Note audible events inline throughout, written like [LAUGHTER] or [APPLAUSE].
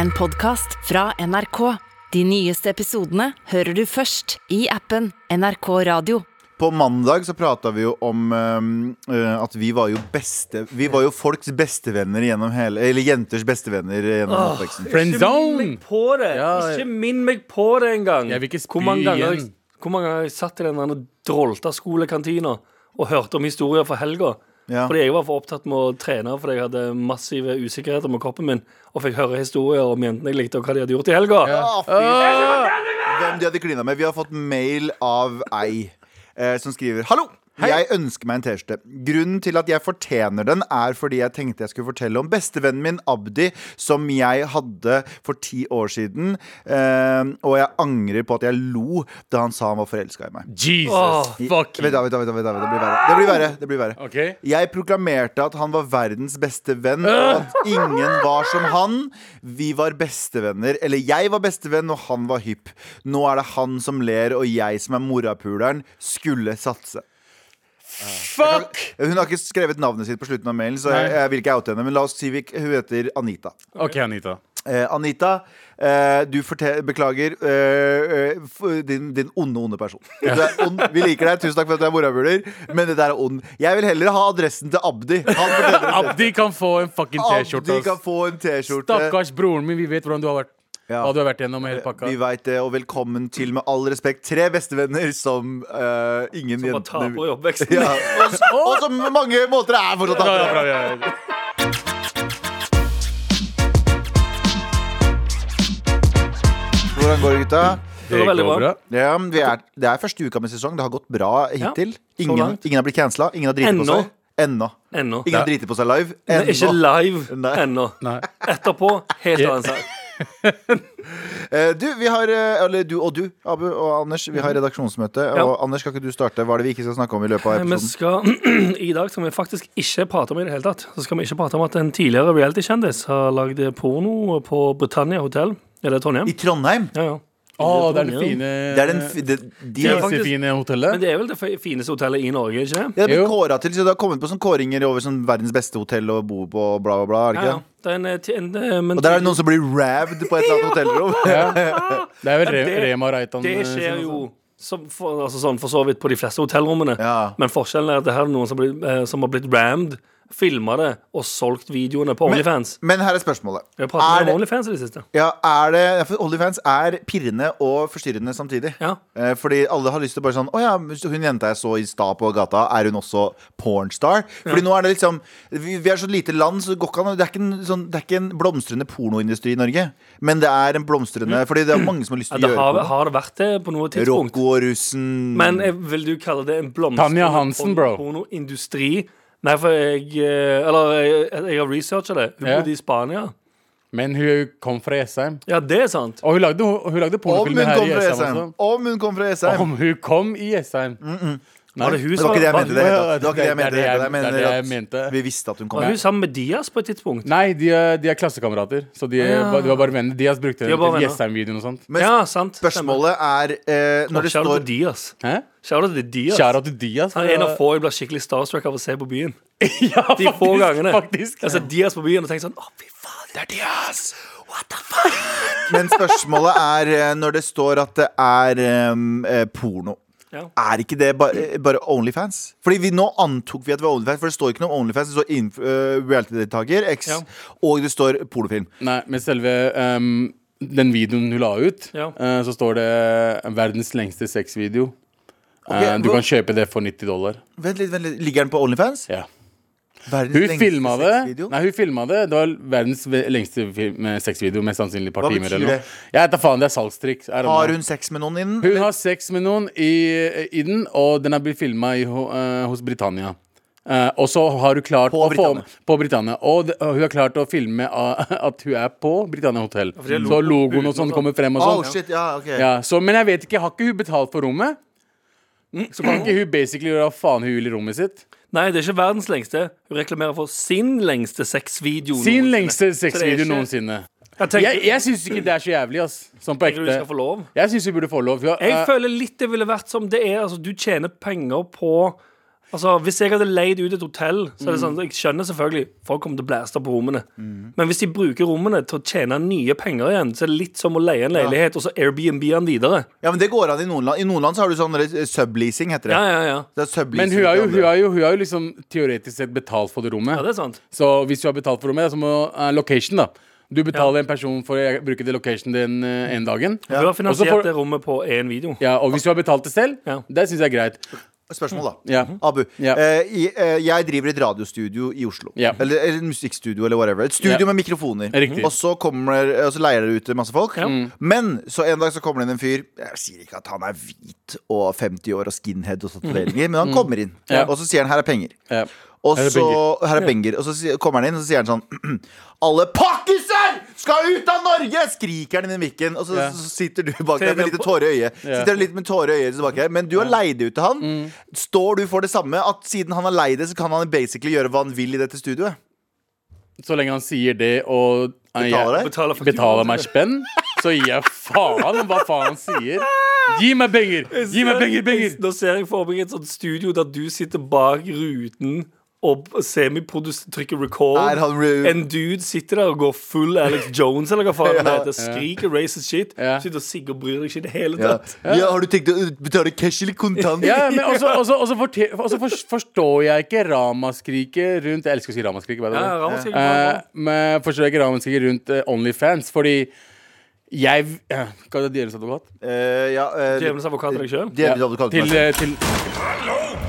En podcast fra NRK. De nyeste episodene hører du først i appen NRK Radio. På mandag så prata vi jo om ehm, eh, at vi var jo beste Vi var jo folks bestevenner gjennom hele Eller jenters bestevenner gjennom oppveksten. Friendzone! Ikke minn meg på det! Ja. Ikke minn meg på det engang! Jeg vil ikke spy hvor mange ganger, igjen. Jeg, hvor mange ganger jeg satt i den der drolta skolekantina og hørte om historier fra helga. Ja. Fordi jeg var for opptatt med å trene fordi jeg hadde massive usikkerheter med kroppen min. Og fikk høre historier om jentene jeg likte, og hva de hadde gjort i helga. Å, fy faen. Hvem de hadde klina med. Vi har fått mail av ei eh, som skriver Hallo! Jeg ønsker meg en T-skjorte. Grunnen til at jeg fortjener den, er fordi jeg tenkte jeg skulle fortelle om bestevennen min Abdi, som jeg hadde for ti år siden. Eh, og jeg angrer på at jeg lo da han sa han var forelska i meg. Jesus Åh, fuck Vent, da, vent, da, vent, da, vent, da, det blir verre. Det blir verre. Det blir verre. Ok. Jeg proklamerte at han var verdens beste venn, Øh! og at ingen var som han. Vi var bestevenner. Eller jeg var bestevenn, og han var hypp. Nå er det han som ler, og jeg som er morapuleren, skulle satse. Fuck! Hun har ikke skrevet navnet sitt på slutten av mailen, så jeg, jeg vil ikke oute henne. Men la oss si vi, hun heter Anita. OK, Anita. Eh, Anita, eh, du forte- beklager eh, eh, f- din, din onde, onde [LAUGHS] person. Du er ond. Vi liker deg. Tusen takk for at du er morapuler, men dette er ond. Jeg vil heller ha adressen til Abdi. Han fortjener det. [LAUGHS] Abdi kan få en fucking T-skjorte. Abdi kan ass. få en T-skjorte. Stakkars broren min, vi vet hvordan du har vært. Ja. Hva du har vært gjennom hele pakka. Vi veit det, og velkommen til, med all respekt, tre bestevenner som eh, ingen Bare taper i oppveksten. [LAUGHS] ja. og, s- og som på mange måter er fortsatt Ja, ja, tapere. bra, ja, ja. Hvordan går det, gutta? Det var veldig bra. Ja, vi er, det er første uka med sesong. Det har gått bra hittil. så Ingen, langt. ingen har blitt cancela. Ingen har driti på Ennå. seg. Ennå. Ennå. Ingen har driti på seg live. Nei, Ikke Ennå. live Nei. ennå. Nei. Etterpå helt annen sak. Eh, Du, vi har, eh, eller du og du, Abu og Anders, vi har redaksjonsmøte. Mhm. Ja. Og Anders, skal ikke du starte? Hva er det vi ikke skal snakke om i løpet av Eh, Vi episoden? skal, [CLEARS THROAT] I dag skal vi faktisk ikke prate om i det hele tatt. Så skal vi ikke prate om at en tidligere reality-kjendis har lagd porno på Britannia hotell. Er det Trondheim? I Trondheim? Ja, ja. Å, det er det fine Det er den fi- det, de Det har fine, er faktisk- fine Men hotellet. det er vel det fi- fineste hotellet i Norge, ikke det? ja, det blir Jo. kåra til, så det har kommet på sånn kåringer over sånn verdens beste hotell å bo på, og bla, bla, bla. Er det ikke? Ja, ja. Det er en, eh, ti- en, eh, men Og der er det noen som blir raved på et eller annet hotellrom. Det er vel Re det- Rema Reitan Det eh, skjer sin, altså. jo som for, altså sånn, for så vidt på de fleste hotellrommene. Ja. Men forskjellen er at det her er noen som, blir, eh, som har blitt rammed, filma det og solgt videoene [LAUGHS] på Men- Onlyfans. Men her er spørsmålet. Vi har pratet Er mye det- om Onlyfans i det siste. Ja, er det, ja, for Onlyfans er pirrende og forstyrrende samtidig. Ja. Eh, fordi alle har lyst til å bare sånn Å ja, hun jenta jeg så i stad på gata, er hun også pornstar? Fordi nå er det liksom vi, vi er så lite land, så det går ikke an å- det er ikke en sånn, Det er ikke en blomstrende pornoindustri i Norge. Men det er en blomstrende Fordi det er mange som har lyst Mm. Ja, til å det har, gjøre porno. har det vært det på noe tidspunkt. Rocco og russen Men eh, vil du kalle det en Mm. Tanja Hansen, blomstrende bro. porno- pornoindustri? Nei, for jeg eh, Eller jeg, jeg har researcha det. Hun Ja. bodde i Spania. Men hun kom fra Jessheim. Ja, det er sant. Og hun lagde, hun lagde Om pornofilmer hun her kom i fra Jessheim Jessheim! også. Om hun kom fra Jessheim! Om hun kom i Jessheim. Var det hun Det var som ikke det jeg var- mente. Det, hele tatt. det var ikke det jeg Det mente. er det Det hele jeg- tatt. det er det jeg jeg mener mente. at vi visste at hun kom. Var hun sammen med Diaz på et tidspunkt? Nei, de er, de er klassekamerater. Så de, er, Ja. de var bare venner. De har brukt Ah. De var den bare venner. til Jessheim-videoen og sånt. Men ja, sant. spørsmålet er eh, Når det Shout out står til Diaz. Hæ? Shout out til Diaz. Kjære til Diaz. Han er en av [LAUGHS] få jeg blir skikkelig starstruck av å se på byen. ja, De få gangene. Faktisk. Jeg ser Diaz på byen og tenker sånn Å, fy faen, det er Diaz! What the fuck? Men spørsmålet er eh, når det står at det er em, eh, porno. Ja. Er ikke det bare, eh, bare Onlyfans? Fordi vi nå antok vi at det var Onlyfans, for det står ikke noe om Onlyfans. Det står inf- eh, reality-deltaker, X, Ja. og det står pornofilm. Nei, men selve ehm, den videoen hun la ut, Ja. eh, så står det 'verdens lengste sexvideo'. Eh, du hva- kan kjøpe det for 90 dollar. Vent litt, vent litt. Ligger den på Onlyfans? Ja. Verdens Hun lengste filma det. sexvideo. Nei, hun filma det. Det var verdens ve- lengste film- eh, sexvideo, mest sannsynlig et par Hva timer. betyr eller noe. det? Jeg vet da faen, det er salgstriks. I don't know. Har hun sex med noen innen? Hun har sex med noen i, i den, og den har blitt filma hos Britannia. Eh, og så har hun klart På å få- Britannia. på Britannia. Og det- og hun har klart å filme a- at hun er på Britannia Hotel. for det er så logo- logoen og sånn uten og sånn. kommer frem og Oh, sånn. shit, ja, ok ja, så, men jeg vet ikke, har ikke hun betalt for rommet? Mm. Så kan ikke hun basically gjøre hva faen hun vil i rommet sitt? Nei, det er ikke verdens lengste. Hun reklamerer for sin lengste sexvideo. Sin noensinne. lengste Så det er sexvideo ikke- noensinne. Jeg tenker, Jeg, jeg syns ikke det er så jævlig, ass. Sånn på tenker du skal ekte. få lov. Jeg syns hun burde få lov. Hun, har- Jeg eh, føler litt det ville vært som det er. Altså, du tjener penger på Altså, Hvis jeg hadde leid ut et hotell Så er det Mm. sånn, Jeg skjønner selvfølgelig folk kommer til å blæste på rommene. Men hvis de bruker rommene til å tjene nye penger igjen, så er det litt som å leie en leilighet og så Airbnb-en videre. Ja, men det går an i noen land. I noen land så har du sånn eh, subleasing, heter det. Ja, ja, ja. det er subleasing Men hun har, jo, til hun, andre. har jo, hun har jo liksom teoretisk sett betalt for det rommet. Ja, det er sant. Så hvis du har betalt for rommet, det er som å eh, location, da. Du betaler en person for å bruke det location den eh, en dagen. Hun har Og så finansiert får- det rommet på én video. Ja, og hvis du har betalt det selv, Ja. det syns jeg er greit. Spørsmål, da. Ja. Abu, Ja. eh, i, eh, jeg driver et radiostudio i Oslo. Ja. Eller, eller et musikkstudio, eller whatever. Et studio Ja. med mikrofoner. Riktig. Og så, kommer, det- og så leier dere ut til masse folk. Ja. Mm. Men så en dag så kommer det inn en fyr. Jeg sier ikke at han er hvit og 50 år og skinhead, og sånt, men han kommer inn. Mm. Ja. Og så sier han 'her er penger'. Ja. Og Her er så, her er Benger. Og så sier- kommer han inn og så sier han sånn [CLEARS THROAT] Alle pakkiser skal ut av Norge! Skriker han inn i mikken. Og så, Ja. så sitter du bak der med litt tårer i øyet. Ja. Mm. Sitter du litt med tårer i øyet så bak her Men du har leid ut til han. Står du for det samme? At siden han har leid det, så kan han basically gjøre hva han vil i dette studioet? Så lenge han sier det og eh, Betaler deg? Betaler jeg faktura. betaler meg spenn, så gir jeg faen om hva faen han sier. Gi meg penger! Gi meg penger, penger! Nå ser jeg for meg et sånt studio der du sitter bak ruten og semiprodus trykker record. Er han rude? En dude sitter der og går full Alex Jones eller hva [LAUGHS] faen det Ja. heter. Skriker racist shit. Ja. Sitter og sigger og bryr deg ikke i det hele Ja. tatt. ja, har du tenkt å betale cash eller kontant? Ja, men også, også, også, forte- også for- forstår jeg ikke ramaskriket rundt Jeg elsker å si ramaskriket. by the Ja, way. Ramos sier ikke Eh, bra. men forstår jeg ikke ramaskriket rundt eh, Onlyfans, fordi jeg uh, Hva er det djevelens advokat? Eh, ja eh, Djevelens advokat til deg selv? Djevelens advokat til Til, meg selv. eh, til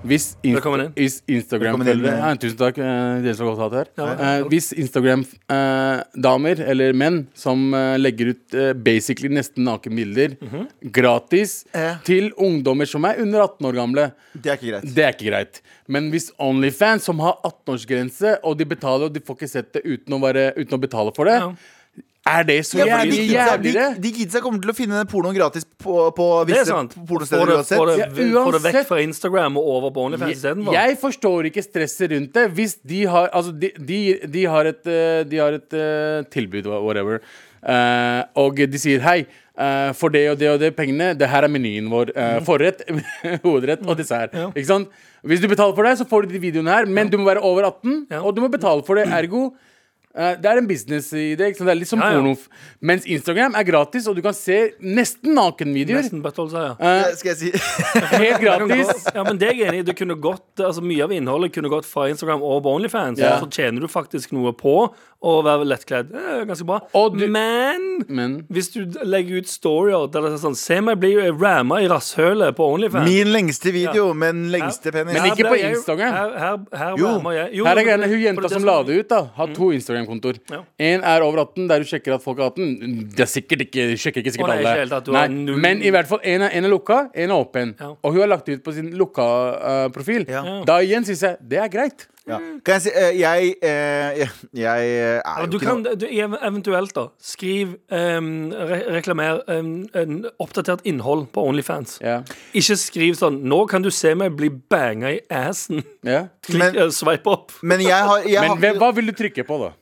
hvis, inst Velkommen inn. hvis Instagram Velkommen inn. følger- ja, Tusen takk. eh, dere som har godt hatt her. Ja, Eh, hvis Instagram-damer eller menn som eh, legger ut eh, basically nesten nakenbilder Mhm. gratis Eh. til ungdommer som er under 18 år gamle, Det er ikke greit. det er ikke greit. Men hvis Onlyfans, som har 18-årsgrense, og de betaler og de får ikke sett det uten å, være, uten å betale for det, Ja. er det så Ja, for de, jævlig kidsa, de, jævligere? de kidsa kommer til å finne den pornoen gratis på, på Det er visse sant. Få pornosteder det, uansett. få det, Ja, få det vekk uansett. fra Instagram og over på OnlyFans Jeg, istedenfor. jeg forstår ikke stresset rundt det. Hvis de har Altså, de, de, de har et, eh, de har et eh, tilbud, wha- whatever, Eh, og de sier hei. eh, for det og det og det pengene. Det her er menyen vår. eh, Mm. forrett, [LAUGHS] hovedrett og dessert. Ikke sant? Hvis du betaler for det, så får du de videoene her, men du må være over 18, Ja. og du må betale for det. Ergo eh, det er en business i det. Ikke sant? Det er litt som Ja, ja. porno. Mens Instagram er gratis, og du kan se nesten nakenvideoer. Nesten buttholes, ja. Eh, Skal jeg si [LAUGHS] Helt gratis. Ja, men det er jeg enig i. Det kunne gått, altså Mye av innholdet kunne gått fra Instagram og på OnlyFans. Ja. Så tjener du faktisk noe på å være lettkledd. Det er ganske bra. Og du- men Men hvis du legger ut storyer der det er sånn Se meg bli ramma i rasshølet på OnlyFans. Min lengste video med den lengste penis. Men ikke ble på jeg- Instagram. Her, her, her Jo. rammer jeg. Jo, Her er men- greiene, Hun for jenta er som la det ut, da har to Instagram-kontor. Ja. En er over 18, der du sjekker at folk er 18. Det er sikkert ikke, du sjekker ikke Å, sikkert nei, ikke helt alle. at du Nei, har null- men i hvert fall en er, en er lukka, en er åpen. Ja. Og hun har lagt ut på sin lukka eh, profil. Ja. Da igjen syns jeg det er greit. Ja. Kan jeg si eh, Jeg, eh, jeg, jeg eh, er Ja, jo du ikke kan noe du, ev- eventuelt da skriv ehm, re reklamer ehm, en oppdatert innhold på OnlyFans. Ja. Ikke skriv sånn 'Nå kan du se meg bli banga i assen'. Ja. Klikk, Men- eh, Sveip opp. Men jeg har, jeg Men har hvem, hva vil du trykke på, da?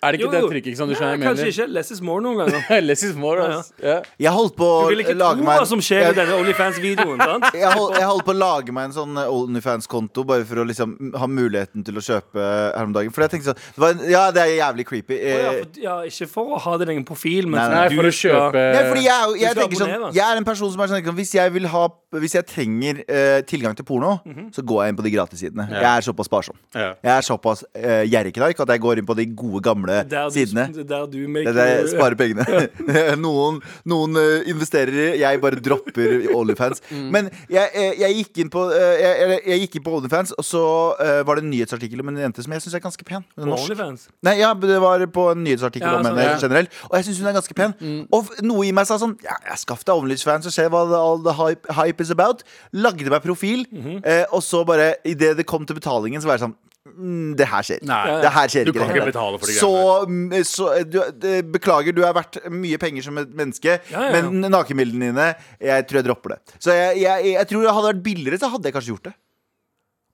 Er det ikke det trykket ikke sant, du Nei, skjønner jeg Kanskje mener? ikke. Less is more noen [LAUGHS] ganger. [LAUGHS] Less is more, Ja, ja. ass. Ja. Jeg holdt på å Du vil ikke lage tro meg hva som skjer i jeg, denne OnlyFans-videoen. [LAUGHS] sant? jeg, hold, jeg holdt på å lage meg en sånn eh, OnlyFans-konto bare for å liksom ha muligheten til å kjøpe her om dagen. For jeg tenkte sånn det var en, Ja, det er jævlig creepy. Å, Ja, Eh, for, ja, ikke for å ha din egen profil, men Nei, for Nei, at du for å skal- kjøpe Nei, fordi jeg, er jo- jeg, Du skal tenker sånn, abonnere. jeg er en person som er sånn Hvis jeg, vil ha, hvis jeg trenger eh, tilgang til porno, Mhm. så går jeg inn på de gratissidene. Jeg er såpass sparsom. Ja. Jeg er såpass uh, gjerriknark at jeg går inn på de gode, gamle der du, sidene. Der du Det make, er der jeg sparer pengene. [LAUGHS] noen noen eh, investerer i, jeg bare dropper i Onlyfans. Men jeg, eh, jeg, gikk inn på, eh, jeg, jeg- jeg gikk inn på Onlyfans, og så eh, var det en nyhetsartikkel om en jente som jeg syns er ganske pen. Hun er på norsk. OnlyFans. Nei, ja, det var på en nyhetsartikkel Ja, om sånn, henne ja. Mm. generelt. Og jeg syns hun er ganske pen. Og f- noe i meg sa sånn ja, jeg Skaff deg OnlyFans og se hva the, all the hype, hype is about. Lagde meg profil, Mhm. eh, og så bare idet det kom til betalingen, så var jeg sånn mm, Det her skjer. Nei. det her skjer Du ikke. kan det her. ikke betale for de så, mm, så du, det, Beklager, du er verdt mye penger som et menneske, Ja, ja, ja. men nakenbildene dine Jeg tror jeg dropper det. Så jeg, jeg, jeg tror det hadde vært billigere, så hadde jeg kanskje gjort det.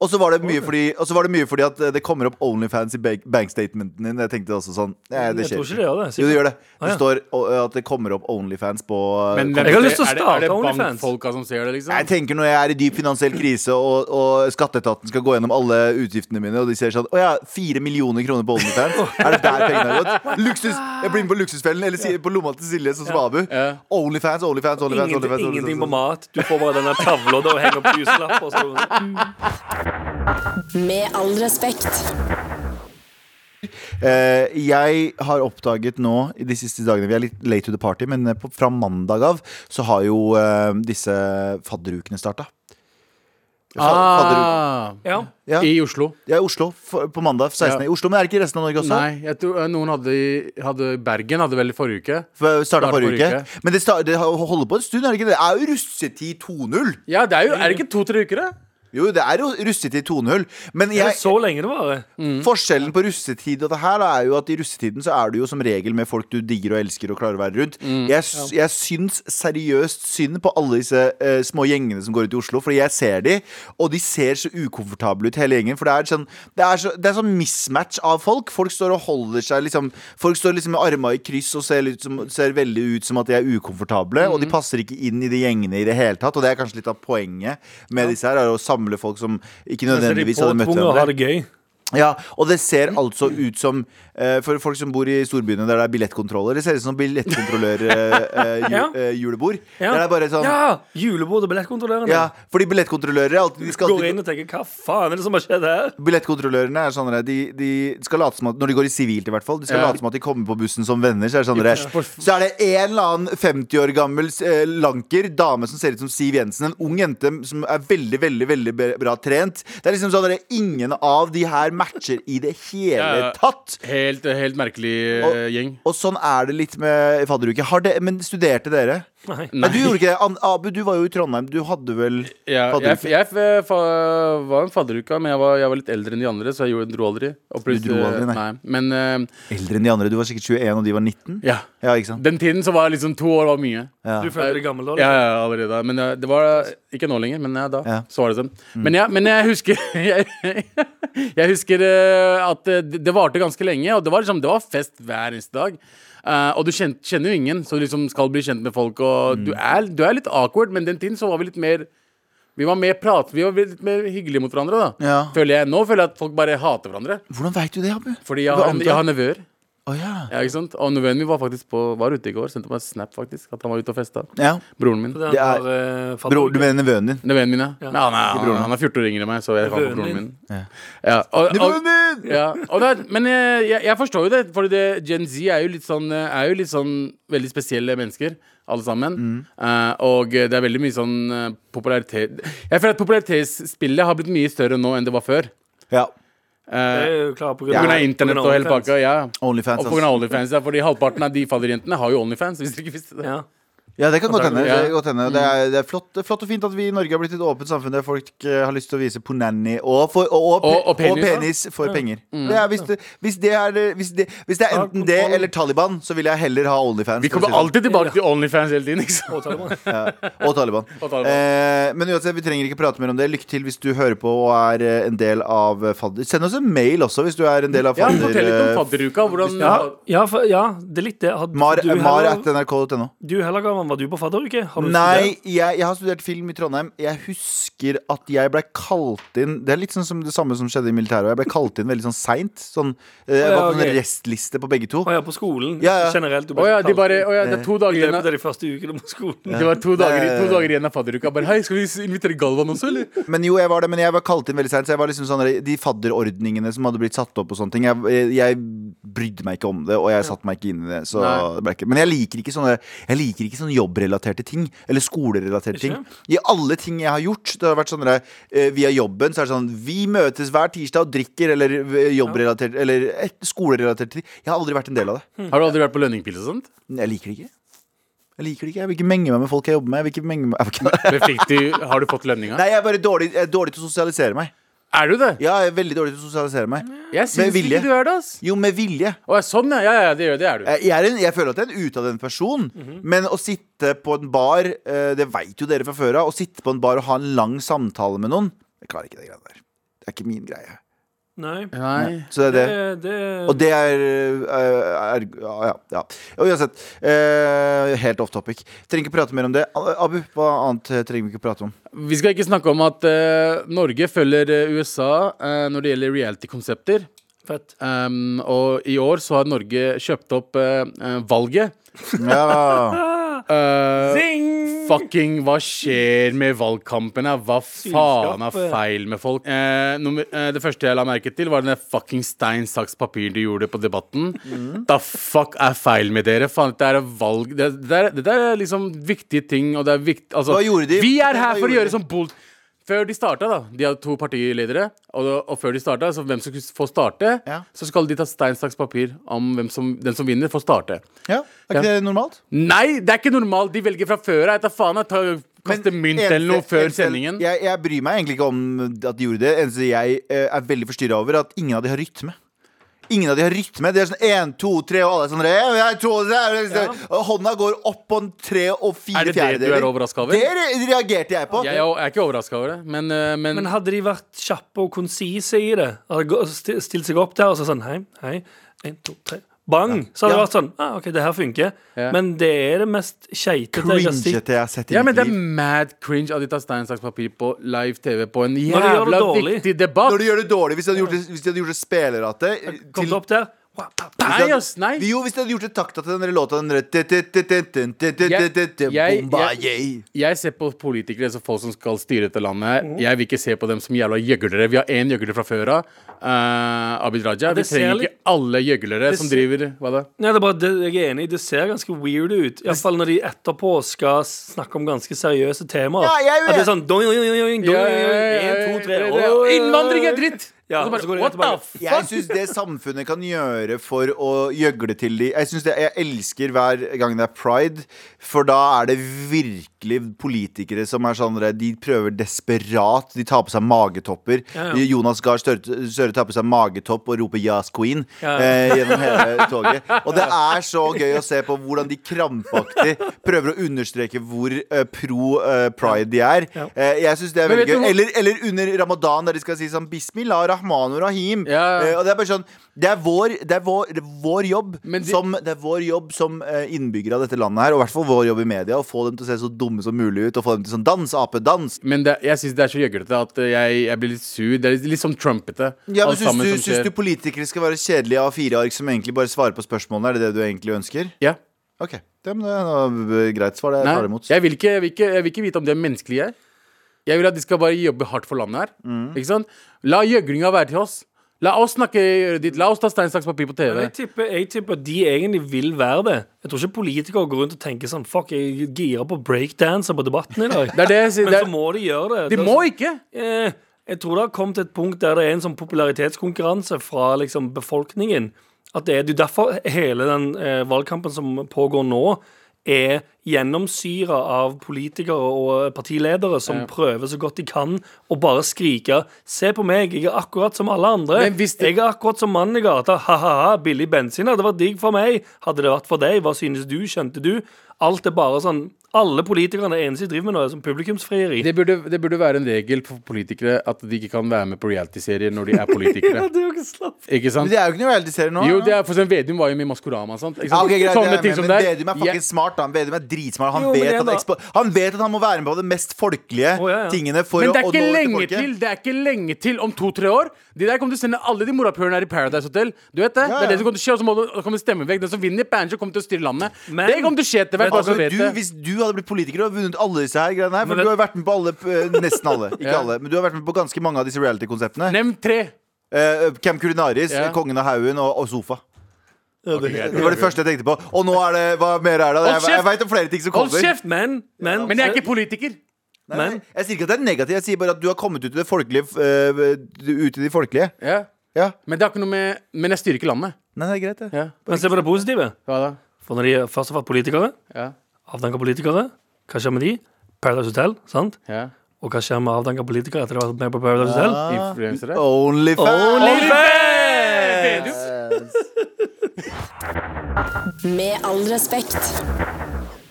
Og så var, det mye fordi, og så var det mye fordi at eh, det kommer opp Onlyfans i bank- bankstatementen din. Jeg tenkte også sånn Nei, det Jeg skjer tror ikke det gjør det, sikkert. Jo, det gjør det. Ah, Det ja. står og, eh, at det kommer opp Onlyfans på eh, Men kom- hvem- Jeg har lyst til å er det- starte Er det OnlyFans. bankfolka som ser det, jeg liksom? tenker når jeg er i dyp finansiell krise, og, og skatteetaten skal gå gjennom alle utgiftene mine, og de ser sånn Å ja, fire millioner kroner på Onlyfans. Er det der pengene har gått? Luksus! Jeg blir med på luksusfellen, eller si- på lomma til Silje, sånn som Abu. Ja. Onlyfans, Onlyfans, Onlyfans. Ingenting, Onlyfans, ingenting på Onlyfans. mat. Du får bare denne tavla der og henger opp juslapper. og sånn. så- Med all respekt. Eh, jeg har oppdaget nå i de siste dagene Vi er litt late to the party, men eh, på, fra mandag av så har jo eh, disse fadderukene starta. Ah, Ja. Ja, I Oslo. ja, i Oslo. For, på mandag 16. Ja. i Oslo. Men er det ikke i resten av Norge også? Nei, jeg tror eh, noen hadde, i- hadde Bergen hadde vel i forrige uke. For- Starta Startet forrige forrige uke. Men det, sta- det har- holder på en stund, er det ikke det? Det er jo russetid 2.0. Ja, det er jo Er det ikke to-tre uker, det? Jo, det er jo russetid 2.0. Men Er jeg, Mm. det så lenge det varer? Altså, forskjellen på russetid og det her da, er jo at i russetiden så er du jo som regel med folk du digger og elsker og klarer å være rundt. Jeg, s- jeg syns seriøst synd på alle disse eh, små gjengene som går ut i Oslo, fordi jeg ser de, og de ser så ukomfortable ut hele gjengen. For det er sånn, det er så, det er sånn mismatch av folk. Folk står og holder seg liksom Folk står liksom med armene i kryss og ser, ut som, ser veldig ut som at de er ukomfortable, og de passer ikke inn i de gjengene i det hele tatt. Og det er kanskje litt av poenget med disse her, er å samle folk som ikke Så de nødvendigvis hadde møtt påtvunget å hverandre. ha det gøy. Ja, og det ser altså ut som eh, For folk som bor i storbyene der det er billettkontroller Det ser ut som billettkontrollørjulebord Ja. uh, julebord Ja. Der det er bare sånn ja. Ja! Julebord og billettkontrollørene. fordi billettkontrollører er alltid, de skal Går alltid inn og tenker 'hva faen er det som har skjedd her?' Billettkontrollørene er sånn der, de, de skal late som at Når de går i sivilt i hvert fall De skal Ja. late som at de kommer på bussen som venner Så er det, sånn der, Ja. så er det en eller annen 50 år gammel eh, lanker Dame som ser ut som Siv Jensen En ung jente som er veldig, veldig, veldig be- bra trent Det er liksom sånn der Ingen av de her matcher i det hele Ja. tatt Helt, eh, helt merkelig Og- eh, gjeng. Og sånn er det litt med fadderuke. Har det, men studerte dere? Nei. Nei. du gjorde ikke det. An- Abu, du var jo i Trondheim. Du hadde vel Ja, jeg, fadderuke? jeg f- fa, var en fadderuka, men jeg var, jeg var litt eldre enn de andre, så jeg gjorde, dro aldri. Og pluss- Du dro aldri, nei. Men eh, Eldre enn de andre. Du var sikkert 21, og de var 19. ja. Ja, ikke sant? Den tiden så var liksom to år var mye. Ja. Du føler deg gammel da? Ja, liksom. ja, allerede. Men eh, det var ikke nå lenger, men ja, da Ja. Mm. så var det sånn. Men, ja, men jeg husker [LAUGHS] jeg, jeg husker eh, at eh, det det varte ganske lenge, og det var, liksom, det var fest hver eneste dag. Eh, og du kjen- kjenner jo ingen, så du liksom skal bli kjent med folk. Og du, Mm. er, du er litt awkward, men den tiden så var vi litt mer Vi var mer prat, vi var litt mer hyggelige mot hverandre. da Ja. føler jeg, Nå føler jeg at folk bare hater hverandre. Hvordan veit du det, Abu? Fordi jeg Hva har, antar- jeg har nevøer. Å, ja. Ja, ikke sant? Og nevøen min var faktisk på, var ute i går. Sendte meg en snap faktisk at han var ute og festa. ja. Broren min. Det Det er- er, eh, fadder- Bror, du mener nevøen din? Nevøen min, ja. Men han, er, han, han er 14 år yngre enn meg, så jeg kan Nevøen på broren min. din. Ja. og, Nevøen og, min! ja. Og det, er- men jeg, jeg- jeg forstår jo det, for det, Gen Z er jo, litt sånn, eh, er jo litt sånn veldig spesielle mennesker, alle sammen. Mm. Eh, og eh, det er veldig mye sånn eh, popularitet Jeg føler at popularitetsspillet har blitt mye større nå enn det var før. Ja. Det Eh, er jo klart på på grunn grunn av internett og hele OnlyFans. pakka. Ja. Onlyfans. Og på grunn av Altså. OnlyFans, ja, fordi halvparten av de fadderjentene har jo OnlyFans. Hvis dere ikke visste det Ja. Ja, det kan godt hende. Ja. Mm. Det, kan godt hende. det er, det er flott, det er flott og fint at vi i Norge har blitt et åpent samfunn der folk eh, har lyst til å vise ponanni og, for, og, og, Og- og penis, Mm. penis, for penger. Det er, hvis, det, hvis, det er, det- hvis, det, hvis det er Ja, enten det kontroll. eller Taliban, så vil jeg heller ha Onlyfans. Vi for å si det kommer sånn. alltid tilbake til Onlyfans hele tiden. Ikke sant? Påtaler man. Og Taliban. [LAUGHS] Og Taliban. Eh, men uansett, vi trenger ikke prate mer om det. Lykke til hvis du hører på og er eh, en del av eh, fadder... Send oss en mail også hvis du er en del av Ja, fadder... fortell litt eh, om fadderuka. Hvordan Ja, ja, for, ja, det er litt det. Har, Mar, du, mar at heller, nrk.no. du heller, Gavan, var du på fadderuke? Har du Nei, studert? jeg, jeg har studert film i Trondheim. Jeg husker at jeg ble kalt inn Det er litt sånn som det samme som skjedde i militæret. og Jeg ble kalt inn veldig sånn seint. Sånn, eh, jeg Ja, var på en ok. restliste på begge to. Å ja, på skolen Ja, ja. generelt. du Å ble ja, de kalt bare, inn å ja, det er to dager I igjen. løpet da. av de første ukene på skolen. Det var to dager, Nei. to dager igjen av fadderuka. Bare hei, skal vi s- invitere Galvan også, eller? Men jo, jeg var det, men jeg var kalt inn veldig seint. Så jeg var liksom sånn der- De fadderordningene som hadde blitt satt opp og sånne ting. Jeg, jeg brydde meg ikke om det, og jeg satte meg ikke inn i det. Så Nei. det ble ikke. Men jeg liker ikke sånne Jeg liker ikke sånne jobbrelaterte ting. Eller skolerelaterte ting. Ikke? I alle ting jeg har gjort, det har vært sånn der, eh, via jobben, så er det sånn Vi møtes hver tirsdag og drikker, eller eh, jobbrelatert Eller et skolerelatert ting. Jeg har aldri vært en del av det. Har du aldri vært på lønningpils og sånt? Jeg liker det ikke. Jeg liker det ikke, jeg vil ikke menge meg med folk jeg jobber med. Jeg vil ikke menge meg. Jeg vil [LAUGHS] ikke. Men fikk du, har du fått lønninga? Nei, jeg er bare dårlig, jeg er dårlig til å sosialisere meg. Er du det? Ja, jeg er veldig dårlig til å sosialisere meg. Jeg Med syns vilje. ikke du er det, ass. Jo, med vilje. Å, ja, sånn, ja. Ja, ja, det, gjør- det er du. Jeg, er en, jeg føler at jeg er en utadvendt person, men å sitte på en bar eh, Det veit jo dere fra før av. Å sitte på en bar og ha en lang samtale med noen Jeg klarer ikke det greiene der. Det er ikke min greie. Nei. Nei. Så det er det. Det, det, Og det er, eh, er ja, ja, ja. Og Uansett. eh, helt off topic. Trenger ikke prate mer om det. Abu, hva annet eh, trenger vi ikke prate om? Vi skal ikke snakke om at eh, Norge følger eh, USA eh, når det gjelder reality-konsepter. Fett. Um, og i år så har Norge kjøpt opp eh, eh, valget. Ja, Eh, Zing! fucking hva skjer med valgkampen her? Hva faen er Sylskapet. feil med folk? Eh, nummer, eh, det første jeg la merke til, var den der fucking stein, saks, papir du gjorde på Debatten. Da fuck er feil med dere? Faen, det er valg det, det, der, det der er liksom viktige ting, og det er viktig altså, Hva gjorde de? Vi er Hva her for å gjorde de? gjøre som Bolt. Før de starta, da. De hadde to partiledere. Og, og før de starta, så hvem som skulle få starte, Ja. så skal de ta stein, saks, papir om hvem som, den som vinner, får starte. ja. Er ikke Ja. det normalt? Nei, det er ikke normalt. De velger fra før av. Jeg tar faen jeg tar- Kaste Men mynt eneste- eller noe før eneste- sendingen. Jeg, jeg bryr meg egentlig ikke om at de gjorde det. Eneste jeg eh, er veldig forstyrra over, er at ingen av de har rytme. Ingen av de har rytme. Det er sånn én, to, tre, og alle er sånn eh, jeg tror det er- Og Hånda går opp på en tre og Er fire det det du er overrasket over? Det re- reagerte jeg på. Jeg, jeg er ikke overraska over det, men, eh, men, Men hadde de vært kjappe og konsise i det, hadde gå- sti- stilt seg opp der og så sånn Hei, hei, en, to, tre Bang! Så hadde det Ja. vært sånn ah, OK, det her funker. Ja. Men det er det mest skeitete jeg har sett. Cringete jeg har sett i ja, men mitt det er liv. mad cringe at de tar stein, saks, papir på live TV på en gjør det jævla dårlig. viktig debatt. Når de gjør det dårlig, hvis de hadde gjort det, hvis de hadde gjort det spelerate Kom til- opp der. Wow, pa, pa. Nei, ass, nei. Jo, hvis de hadde gjort det takta til den der låta den derre jeg- Bombay. Jeg ser på politikere som folk som skal styre dette landet. her. Jeg vil ikke se på dem som jævla gjøglere. Vi har én gjøgler fra før av. eh, Abid Raja. Vi det ser trenger litt- ikke alle gjøglere Det som ser- driver Hva da? Nei, det er bare, det, jeg er enig, det ser ganske weird ut. Iallfall når de etterpå skal snakke om ganske seriøse temaer. Ja, jeg vet. At det er sånn doing, doing, doing, doing, Ja, ja, ja, ja, En, to, tre ja, ja, ja. og- Innvandring er dritt! Ja, Og så og så går bare, de What the tilbake. fuck? Jeg syns det samfunnet kan gjøre for å gjøgle til de Jeg synes det, jeg elsker hver gang det er pride, for da er det virkelig politikere som er sånn De prøver desperat. De tar på seg magetopper. Ja, ja. Jonas Gahr Støre Støre tar på seg magetopp og roper 'Yes, Queen' Ja, ja. Eh, gjennom [LAUGHS] hele toget. Og det er så gøy å se på hvordan de krampaktig prøver å understreke hvor eh, pro eh, pride de er. Ja. Eh, jeg syns det er Men veldig vet du gøy. hvor- Eller, eller under ramadan, der de skal si sånn Bismillah rahman og rahim. Ja. Eh, og det er bare sånn Det er vår, det er vår, det er vår jobb Men de- som, Det er vår jobb som eh, innbyggere av dette landet her, og i hvert fall vår jobb i media, å få dem til å se så dumme som mulig ut, og få dem til sånn Dans, ape, dans! Men det, jeg syns det er så gjøglete at eh, jeg, jeg blir litt sur. Det er litt, litt som trumpete. Ja, men alt syns sammen du, som syns skjer. du politikere skal være kjedelige A4-ark som egentlig bare svarer på spørsmålene? Er det det du egentlig ønsker? Ja. OK. Ja, men det er noe greit svar. Det Nei, tar jeg imot. jeg vil, ikke, jeg, vil ikke, jeg vil ikke vite om de er menneskelige. Jeg vil at de skal bare jobbe hardt for landet her. Mm. Ikke sant? La gjøglinga være til oss. La oss snakke i øret ditt. La oss ta stein, saks, papir på TV. Jeg tipper, jeg tipper at de egentlig vil være det. Jeg tror ikke politikere går rundt og tenker sånn Fuck, jeg girer på breakdanser på debatten i dag. Det er det jeg sier. Men Det så er, må de gjøre det. de må ikke! Eh, Jeg tror det har kommet til et punkt der det er en sånn popularitetskonkurranse fra liksom, befolkningen. At det er det er derfor hele den eh, valgkampen som pågår nå, er gjennomsyra av politikere og eh, partiledere som prøver så godt de kan å bare skrike 'Se på meg, jeg er akkurat som alle andre'. Men hvis det- Jeg er akkurat som mannen i gata. Ha-ha-ha, billig bensin hadde vært digg for meg. Hadde det vært for deg, hva synes du? Skjønte du? Alt er bare sånn Alle politikerne er eneste de driver med nå, er sånn publikumsfrieri. Det burde, det burde være en regel for politikere at de ikke kan være med på realityserier når de er [LAUGHS] politikere. det er jo ikke slapp. Ikke Men sant? det er jo ikke noe reality-serie nå. Jo, det er for eksempel Vedum var jo med i Maskorama. Sant? Ikke Ja, sant? ok, greit, Sånne jeg er ting med, som men det er. Vedum er fucking Jeg- smart. da. Vedum er dritsmart. Han, Jo, men vet det at, da- ekspo- han vet at han må være med på de mest folkelige Å, ja, ja. tingene for Men det å, er å nå ut ikke til lenge folket. til! Det er ikke lenge til om to-tre år. De der kommer til å sende alle de morapulerne her i Paradise Hotel. Du vet det? Ja, ja. Det er det som kommer til å skje, og så må du- kommer det stemme vekk. Den som vinner Banjo, kommer til å styre landet. Men- det kommer til å skje etter hvert. bare Altså, så vet du, det. hvis du hadde blitt politiker og vunnet alle disse her greiene her For Men vet- du har vært med på alle, eh, nesten [LAUGHS] alle. Ikke Ja. alle, men du har vært med på ganske mange av disse reality-konseptene. Nevn tre. Eh, Camp Culinaris, Ja. Kongen av haugen og, og Sofa. Ok, greit. Det var det første jeg tenkte på. Og nå er det Hva mer er det? Hold Jeg, jeg, kjeft! vet om flere ting som Hold kommer. kjeft! Men, men, Men jeg er ikke politiker. Nei, Men- jeg sier ikke at det er negativt, jeg sier bare at du har kommet ut i det folkelige. eh, ut i de folkelige. Ja. Ja. Men det har ikke noe med Men jeg styrer ikke landet. Nei, det er greit, det. Ja. men se på det positive. Hva da? For når de først har vært politikere, Ja. avdanka politikere, hva skjer med de? Paradise Hotel, sant? ja. Og hva skjer med avdanka politikere etter å ha vært med på Paradise Hotel? Ah. Ah. Influensere. Onlyfans! Vedum. Med all respekt.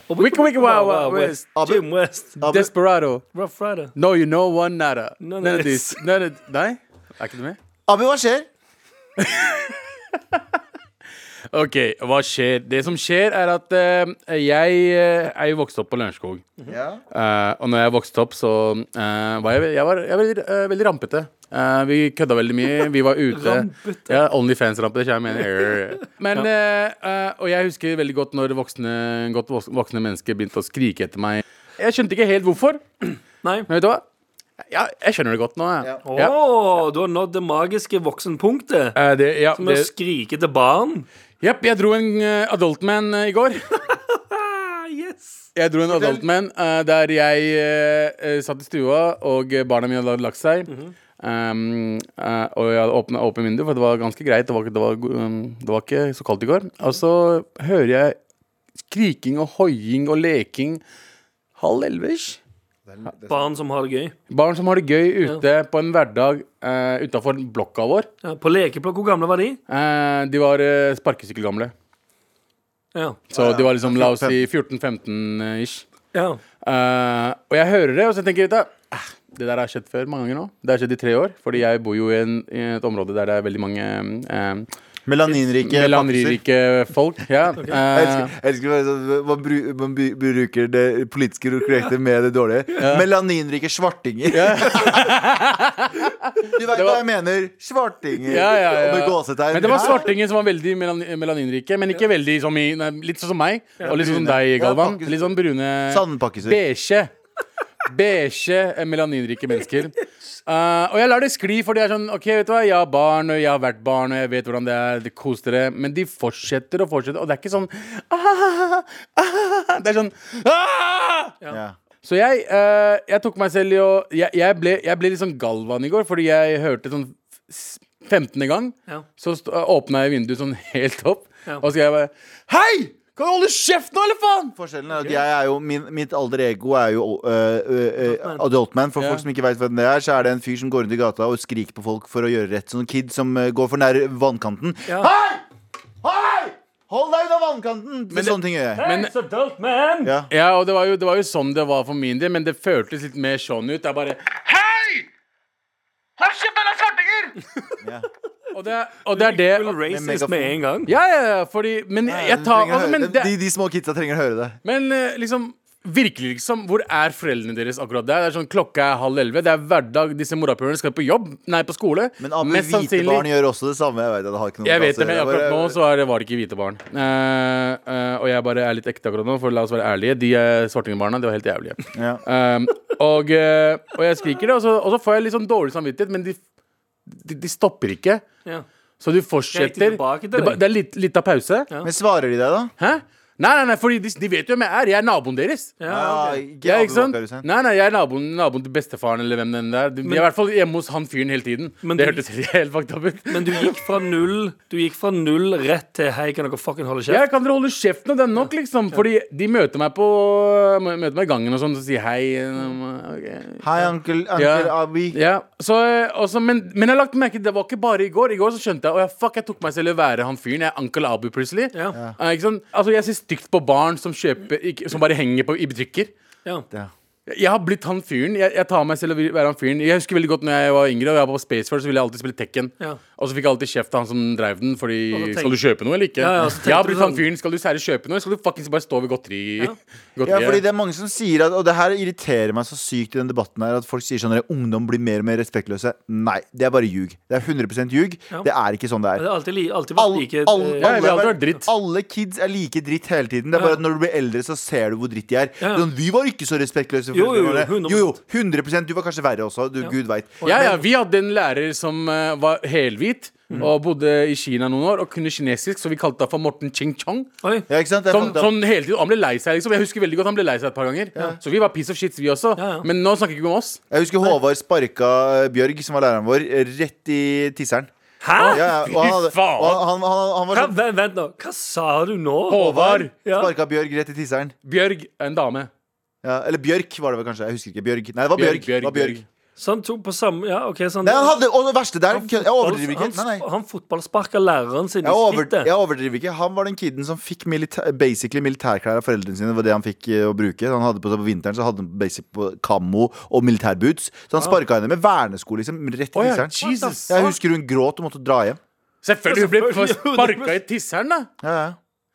Og Wicca, wicca, wow, wow, West. Abu. Jim West. Abu, Desperado. Rough Rider. No, you know one nada. None None, of of this. this. None of, nei? Er ikke du med? Abu, hva skjer? OK, hva skjer? Det som skjer, er at eh, jeg eh, er jo vokst opp på Lørenskog. Ja. Eh, og når jeg vokste opp, så eh, var jeg, jeg var, jeg var eh, veldig rampete. Eh, vi kødda veldig mye. Vi var ute. Rampete. Ja, Onlyfans-rampete. så jeg mener, err. Men, eh, eh, og jeg husker veldig godt når voksne, godt vok- voksne mennesker begynte å skrike etter meg. Jeg skjønte ikke helt hvorfor, Nei. men vet du hva? Ja, jeg skjønner det godt nå. Jeg. Å, Ja. du har nådd det magiske voksenpunktet. Eh, det, ja, Med å det, skrike til barn. Jepp, jeg dro en eh, adult man eh, i går. Ah, yes. Jeg dro en adult man eh, der jeg eh, eh, satt i stua, og eh, barna mine hadde lagt seg. um, eh, og jeg hadde åpna åpent vindu, for det var ganske greit. Det var, ikke- det, var, go- um, det var ikke så kaldt i går. Og så hører jeg skriking og hoiing og leking halv elleve-ish. Barn som har det gøy. Barn som har det gøy ute på en hverdag uh, utafor blokka vår. Ja, på lekeplokk, hvor gamle var de? Eh, de var eh, sparkesykkelgamle. Ja. Så de var liksom, la oss si, 14-15-ish. ja. Eh, og jeg hører det, og så tenker jeg da, eh, Det der har skjedd før mange ganger nå. Det har skjedd i tre år. Fordi jeg bor jo i, en, i et område der det er veldig mange eh, Melaninrike pakkiser. melanrike folk. [LAUGHS] Ja. eh, Jeg elsker, jeg elsker bare sånn, man, bru, man bru- bruker det politiske korrekte med det [LAUGHS] dårlige. Melaninrike svartinger. [LAUGHS] du veit hva jeg mener. Svartinger. ja, ja, Og med ja. gåsetegn. Men det var Ja. svartingen som var veldig melan melaninrike. Men ikke veldig som i nei, Litt sånn som meg, og litt sånn som deg, brune. Ja, Galvan. pakkes- Litt sånn brune Sandpakkiser. Beige. Beige eh, melaninrike mennesker. Eh, og jeg lar det skli, for det er sånn OK, vet du hva, jeg har barn, og jeg har vært barn, og jeg vet hvordan det er, det kos dere. Men de fortsetter og fortsetter, og det er ikke sånn ah, ah, Det er sånn ah! Ja. Så jeg, eh, jeg tok meg selv i å jeg, jeg, ble, jeg ble litt sånn galvan i går, fordi jeg hørte sånn f- s- 15. gang. Ja. Så st- åpna jeg vinduet sånn helt opp, Ja. og så skrev jeg bare Hei! Kan du holde kjeft nå, eller faen?! Forskjellen er at jeg er jo, min, mitt alter ego er jo øh, øh, øh, adult man. For Ja. folk som ikke veit hvem det er, så er det en fyr som går rundt i gata og skriker på folk for å gjøre rett. Sånn kid som øh, går for nær vannkanten. Ja. Hei! Hei! Hold deg unna vannkanten! Men sånne ting gjør jeg. Men- It's adult man! Ja. Ja, og det var, jo, det var jo sånn det var for min del, men det føltes litt mer sånn ut. Det er bare Hei! Hold kjeft, dere svartinger! Ja. [LAUGHS] og, det, er- og det er det Full racist megafon. med en gang. Ja, ja, ja, fordi Men jeg Du tar trenger å altså, høre men det. det, de, de små kidsa trenger å høre det. Men eh, liksom Virkelig liksom, Hvor er foreldrene deres akkurat der? Det er sånn, Klokka er halv elleve. Det er hverdag. Disse morapulerne skal på jobb. Nei, på skole. Men Abu, hvite barn gjør også det samme. Jeg vet, det har ikke noe Jeg med vet det, men klasse å gjøre. akkurat nå Bare- så er det, var det ikke hvite barn. Eh, eh, og jeg bare er litt ekte akkurat nå, for la oss være ærlige. De eh, svartingbarna, de var helt jævlige. Ja. Eh, og, eh, og jeg skriker det, og så, og så får jeg litt sånn dårlig samvittighet, men de, de, de stopper ikke. Ja. Så du Gikk de fortsetter. tilbake til det, ba- deg? det er litt, litt av pause. Men svarer de deg, da? Hæ? Nei, nei, nei, fordi de, de vet jo hvem jeg er. Jeg er naboen deres. Ja, Ja, ok. ikke Ja, Abu ikke sant? Bakar Hussein. Nei, nei, jeg er naboen, naboen til bestefaren eller hvem den der. Vi er i hvert fall hjemme hos han fyren hele tiden. Men det du- hørtes [LAUGHS] helt fucked up ut. Men du gikk fra null Du gikk fra null rett til Hei, kan dere fucking holde Jeg kjeft? kan dere holde kjeften, og det er nok, liksom. Fordi de møter meg på Møter meg i gangen og sånn, så sier hei. um, ok. Hei, onkel, onkel Ja. Abi. Ja, så, eh, også, men, men jeg har lagt merke til det var ikke bare i går. I går så skjønte jeg å ja, fuck, jeg tok meg selv i å være han fyren. Jeg er Uncle Abu plutselig. Ja. Eh, ikke sant? Altså, jeg ser stygt på barn som, kjøper, ikke, som bare henger på, i butikker. Ja. Ja. Jeg har blitt han fyren. Jeg, jeg tar meg selv og vil være han fyren. Jeg husker veldig godt når jeg var yngre og jeg var på Space Force, så ville jeg alltid spille Tekken. Ja. Og så fikk jeg alltid kjeft av han som drev den. Fordi Og så tenk- Skal du kjøpe noe eller ikke? Ja, ja, så tenkte jeg har du blitt han sånn- fyren. Skal du særlig kjøpe noe, eller skal du fuckings bare stå ved godteri Ja, fordi godteriet? det er mange som sier at Og det her irriterer meg så sykt i den debatten her At folk sier sånn at ungdom blir mer og mer respektløse Nei, det er bare ljug Det er 100% ljug Ja. Det er ikke sånn det Det er har alltid, li- alltid vært All, like all, eh, ja, alle, vi har er- alltid vært dritt. alle kids er like dritt hele tiden Det er Ja. bare at når du blir eldre så ser du hvor dritt de er Ja. sånn, Vi var ikke så respektløse for Jo, jo, jo, foreldrene våre. 100%. jo, jo, 100% Du var kanskje verre også, du gud vet Ja, ja, vi hadde en lærer som eh, var helhvit og bodde i Kina noen år og kunne kinesisk, så vi kalte han for Morten Ching Chong. Oi. Ja, ikke sant? Det er Sånn, fucked up. sånn hele tiden, og Han ble lei seg, liksom. Jeg husker veldig godt han ble lei seg et par ganger. Så vi var piece of shit, vi også. Ja, ja. Men nå snakker vi ikke om oss. Jeg husker Håvard sparka eh, Bjørg, som var læreren vår, eh, rett i tisseren Hæ? ja, ja, og han, hadde- Fy faen. og han, han, han, han var Hva, sånn vent, vent nå. Hva sa du nå? Håvard, Ja. Sparka Bjørg rett i tisseren Bjørg, en dame. Ja, eller Bjørk var det vel kanskje. Jeg husker ikke. Bjørg. Nei, det var Bjørg. Bjørg, det var Bjørg. Bjørg. Så han tok sånn på samme Ja, OK, så han Nei, han hadde, og det verste der kø- Jeg overdriver ikke. Han, Nei, nei. han fotballsparka læreren sin i Jeg, over, skrittet. jeg overdriver ikke. Han var den kiden som fikk milita basically militærklær av foreldrene sine. Det var det han fikk eh, å bruke. Han hadde på seg på vinteren Så hadde han basic på kammo og militærboots. Så han sparka henne med vernesko liksom rett i Å ja, tisseren. Jesus. Jeg husker hun gråt og måtte dra hjem. Selvfølgelig hun ble [LAUGHS] Selvfølgelig, jo, det- sparka i tisseren, da. Ja, ja.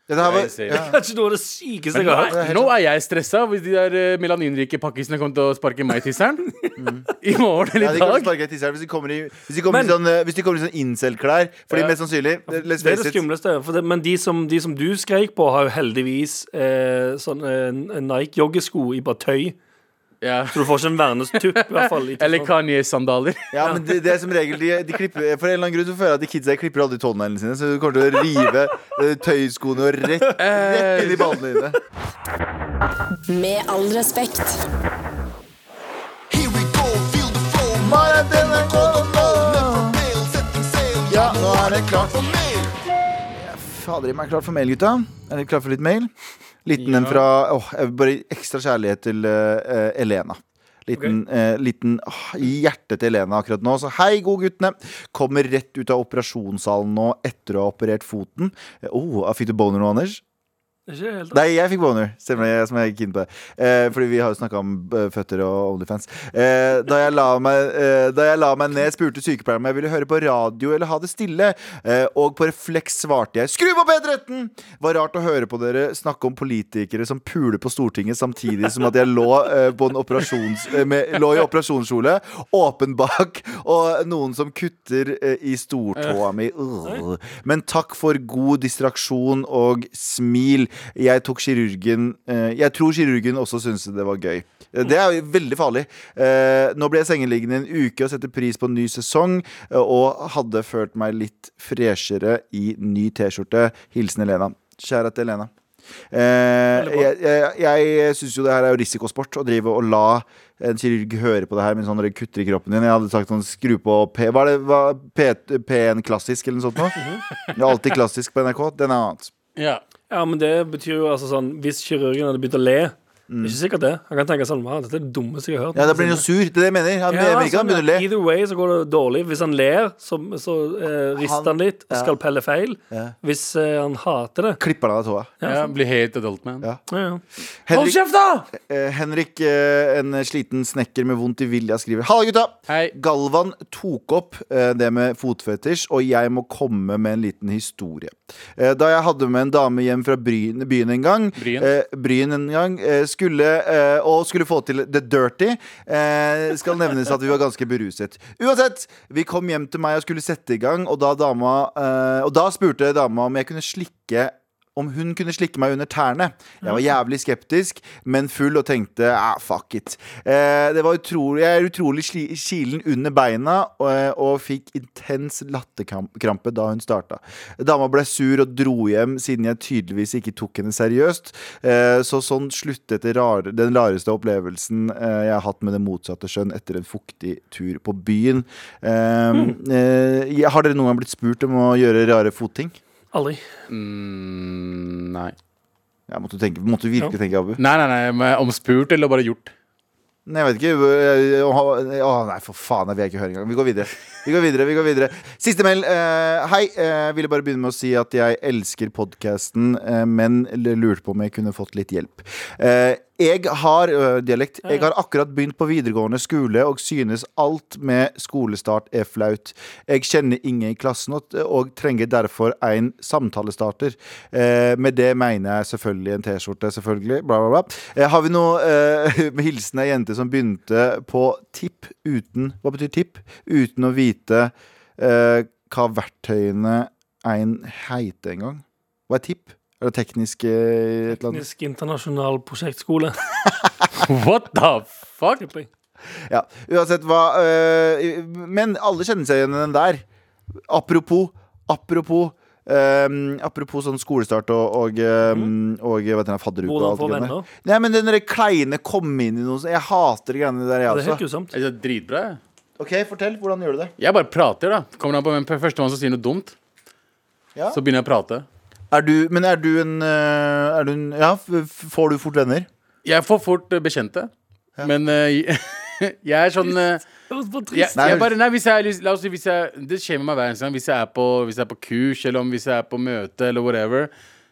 Dette her var, Jeg ser. ja. Kanskje noe av det sykeste jeg har hørt. Nå er jeg stressa hvis de der eh, melaninrike pakkisene kommer til å sparke meg i tisseren. [LAUGHS] I morgen Ja, eller de i kommer til å dag. sparke deg i tisseren hvis de kommer i, hvis de kommer Men- i sånn, eh, hvis de kommer i sånn incel-klær. Fordi Ja. mest sannsynlig eh, Let's Det er det face it. skumleste. For det, men de som, de som du skreik på, har jo heldigvis eh, sånn eh, Nike-joggesko i bare tøy. Ja. Så du får ikke en vernestupp, i hvert [LAUGHS] fall. i Eller Kanye-sandaler. Ja, men det, det er som regel de, de klipper, For en eller annen grunn så føler jeg at de kidsa klipper aldri tåneglene sine. Så du kommer til å rive eh, tøyskoene og rett, rett inn i ballene dine. Med all respekt. Here we go, feel the flow. Ja, nå er det klart for mer. Fader i meg, klart for mail, gutta. Er dere klare for litt mail? Liten en fra åh, jeg vil Bare ekstra kjærlighet til eh, eh, Elena. Liten, eh, liten åh, i hjertet til Elena akkurat nå. Så hei, gode guttene. Kommer rett ut av operasjonssalen nå etter å ha operert foten. Eh, Oh, fikk du boner nå, Anders? Ikke helt Nei, jeg fikk boner. Stemmer det, jeg som er keen på det. Eh, fordi vi har jo snakka om eh, føtter og Onlyfans. Eh, da, jeg la meg, eh, da jeg la meg ned, spurte sykepleieren om jeg ville høre på radio eller ha det stille. Eh, og på refleks svarte jeg 'skru på P13'! Var rart å høre på dere snakke om politikere som puler på Stortinget samtidig som at jeg lå, eh, på en operasjons, eh, med, lå i operasjonskjole, åpen bak, og noen som kutter eh, i stortåa mi. Ugh. Men takk for god distraksjon og smil. Jeg tok kirurgen eh, Jeg tror kirurgen også syntes det var gøy. Eh, Det er jo veldig farlig. Eh, Nå ble jeg sengeliggende en uke og setter pris på en ny sesong, eh, og hadde følt meg litt freshere i ny T-skjorte. Hilsen Elena. Kjære til Elena. Eh, jeg jeg, jeg syns jo det her er jo risikosport, å drive og la en kirurg høre på det her mens han kutter i kroppen din. Jeg hadde sagt sånn skru på P... Hva er det? Hva, P, P1 klassisk eller noe sånt Mhm. noe? Det er alltid klassisk på NRK. Den er annet. Ja. Ja, men det betyr jo altså sånn Hvis kirurgen hadde begynt å le Det er ikke sikkert det. Han kan tenke sånn «Wow, Dette er det dummeste jeg har hørt. Mm. Ja, da blir han jo sur. Det er det jeg mener. Han Ja, mener ikke sånn, han begynner å ja. le. Either way så går det dårlig. Hvis han ler, så, så eh, rister Han- han litt og ja. skalpellet feil. Ja. Hvis eh, han hater det Klipper han av tåa. ja bli helt adult man. Ja. ja, ja. Hold Henrik, kjeft, da! eh, Henrik eh, en sliten snekker med vondt i vilja, skriver Halla, gutta! Hei. Galvan tok opp eh, det med fotfetisj, og jeg må komme med en liten historie. Eh, da jeg hadde med en dame hjem fra Bryn, byen en gang, Bryn. eh, bryn en gang eh, skulle, eh, og skulle få til the dirty, eh, skal nevnes at vi var ganske beruset. Uansett, vi kom hjem til meg og skulle sette i gang, og da, dama, eh, og da spurte dama om jeg kunne slikke om hun kunne slikke meg under tærne. Jeg var jævlig skeptisk, men full og tenkte ah, fuck it. Eh, det var utrolig, jeg er utrolig sli- kilen under beina og, og fikk intens latterkrampe da hun starta. Dama ble sur og dro hjem siden jeg tydeligvis ikke tok henne seriøst. Eh, så sånn sluttet det rare, den rareste opplevelsen eh, jeg har hatt med det motsatte skjønn etter en fuktig tur på byen. Eh, eh, jeg- har dere noen gang blitt spurt om å gjøre rare fotting? Aldri. Mm, nei. Jeg måtte, tenke, måtte virkelig tenke, Abu. Nei, nei, nei, men omspurt eller bare gjort? Nei, jeg vet ikke. øh, øh, Å, nei, for faen, jeg vil ikke høre engang. Vi går videre. Vi går videre, vi går videre. Siste mail. eh, hei. eh, ville bare begynne med å si at jeg elsker podkasten, men l- lurte på om jeg kunne fått litt hjelp. Eh, jeg har øh, dialekt. Jeg har akkurat begynt på videregående skole og synes alt med skolestart er flaut. Jeg kjenner ingen i klassen og, og trenger derfor en samtalestarter. Eh, med det mener jeg selvfølgelig en T-skjorte, selvfølgelig. Bla, bla, bla. Eh, har vi noe eh, [LAUGHS] med hilsen ei jente som begynte på tipp uten Hva betyr tipp? Uten å vite eh, hva verktøyene ein heiter engang. Hva er tipp? Er det teknisk eh, et eller annet? Teknisk internasjonal prosjektskole. [LAUGHS] What the fuck? tipper jeg. Ja, uansett hva øh, Men alle kjenner seg igjen i den der. Apropos, apropos øhm, apropos sånn skolestart og, og, øhm, og hva heter den, fadderuke og Mm. Hvordan alt få det greiene. venner? Nei, men den der kleine komme inn i noe sånt. Jeg hater de greiene der, jeg Det er helt også. grusomt. Det er dritbra. jeg. Ok, fortell. Hvordan gjør du det? Jeg bare prater, da. Kommer an på hvem førstemann som sier noe dumt. Ja. Så begynner jeg å prate. Er du, men er du en, øh, er du en Ja, f- f- får du fort venner? [LAUGHS] Jeg får fort eh, bekjente. Men eh, jeg er sånn eh, høres for Ja, trist Nei, jeg bare, nei, hvis jeg, har lyst- la oss si hvis jeg, Det skjer med meg hver eneste gang. Hvis jeg, er på, hvis jeg er på kurs, eller om hvis jeg er på møte, eller whatever,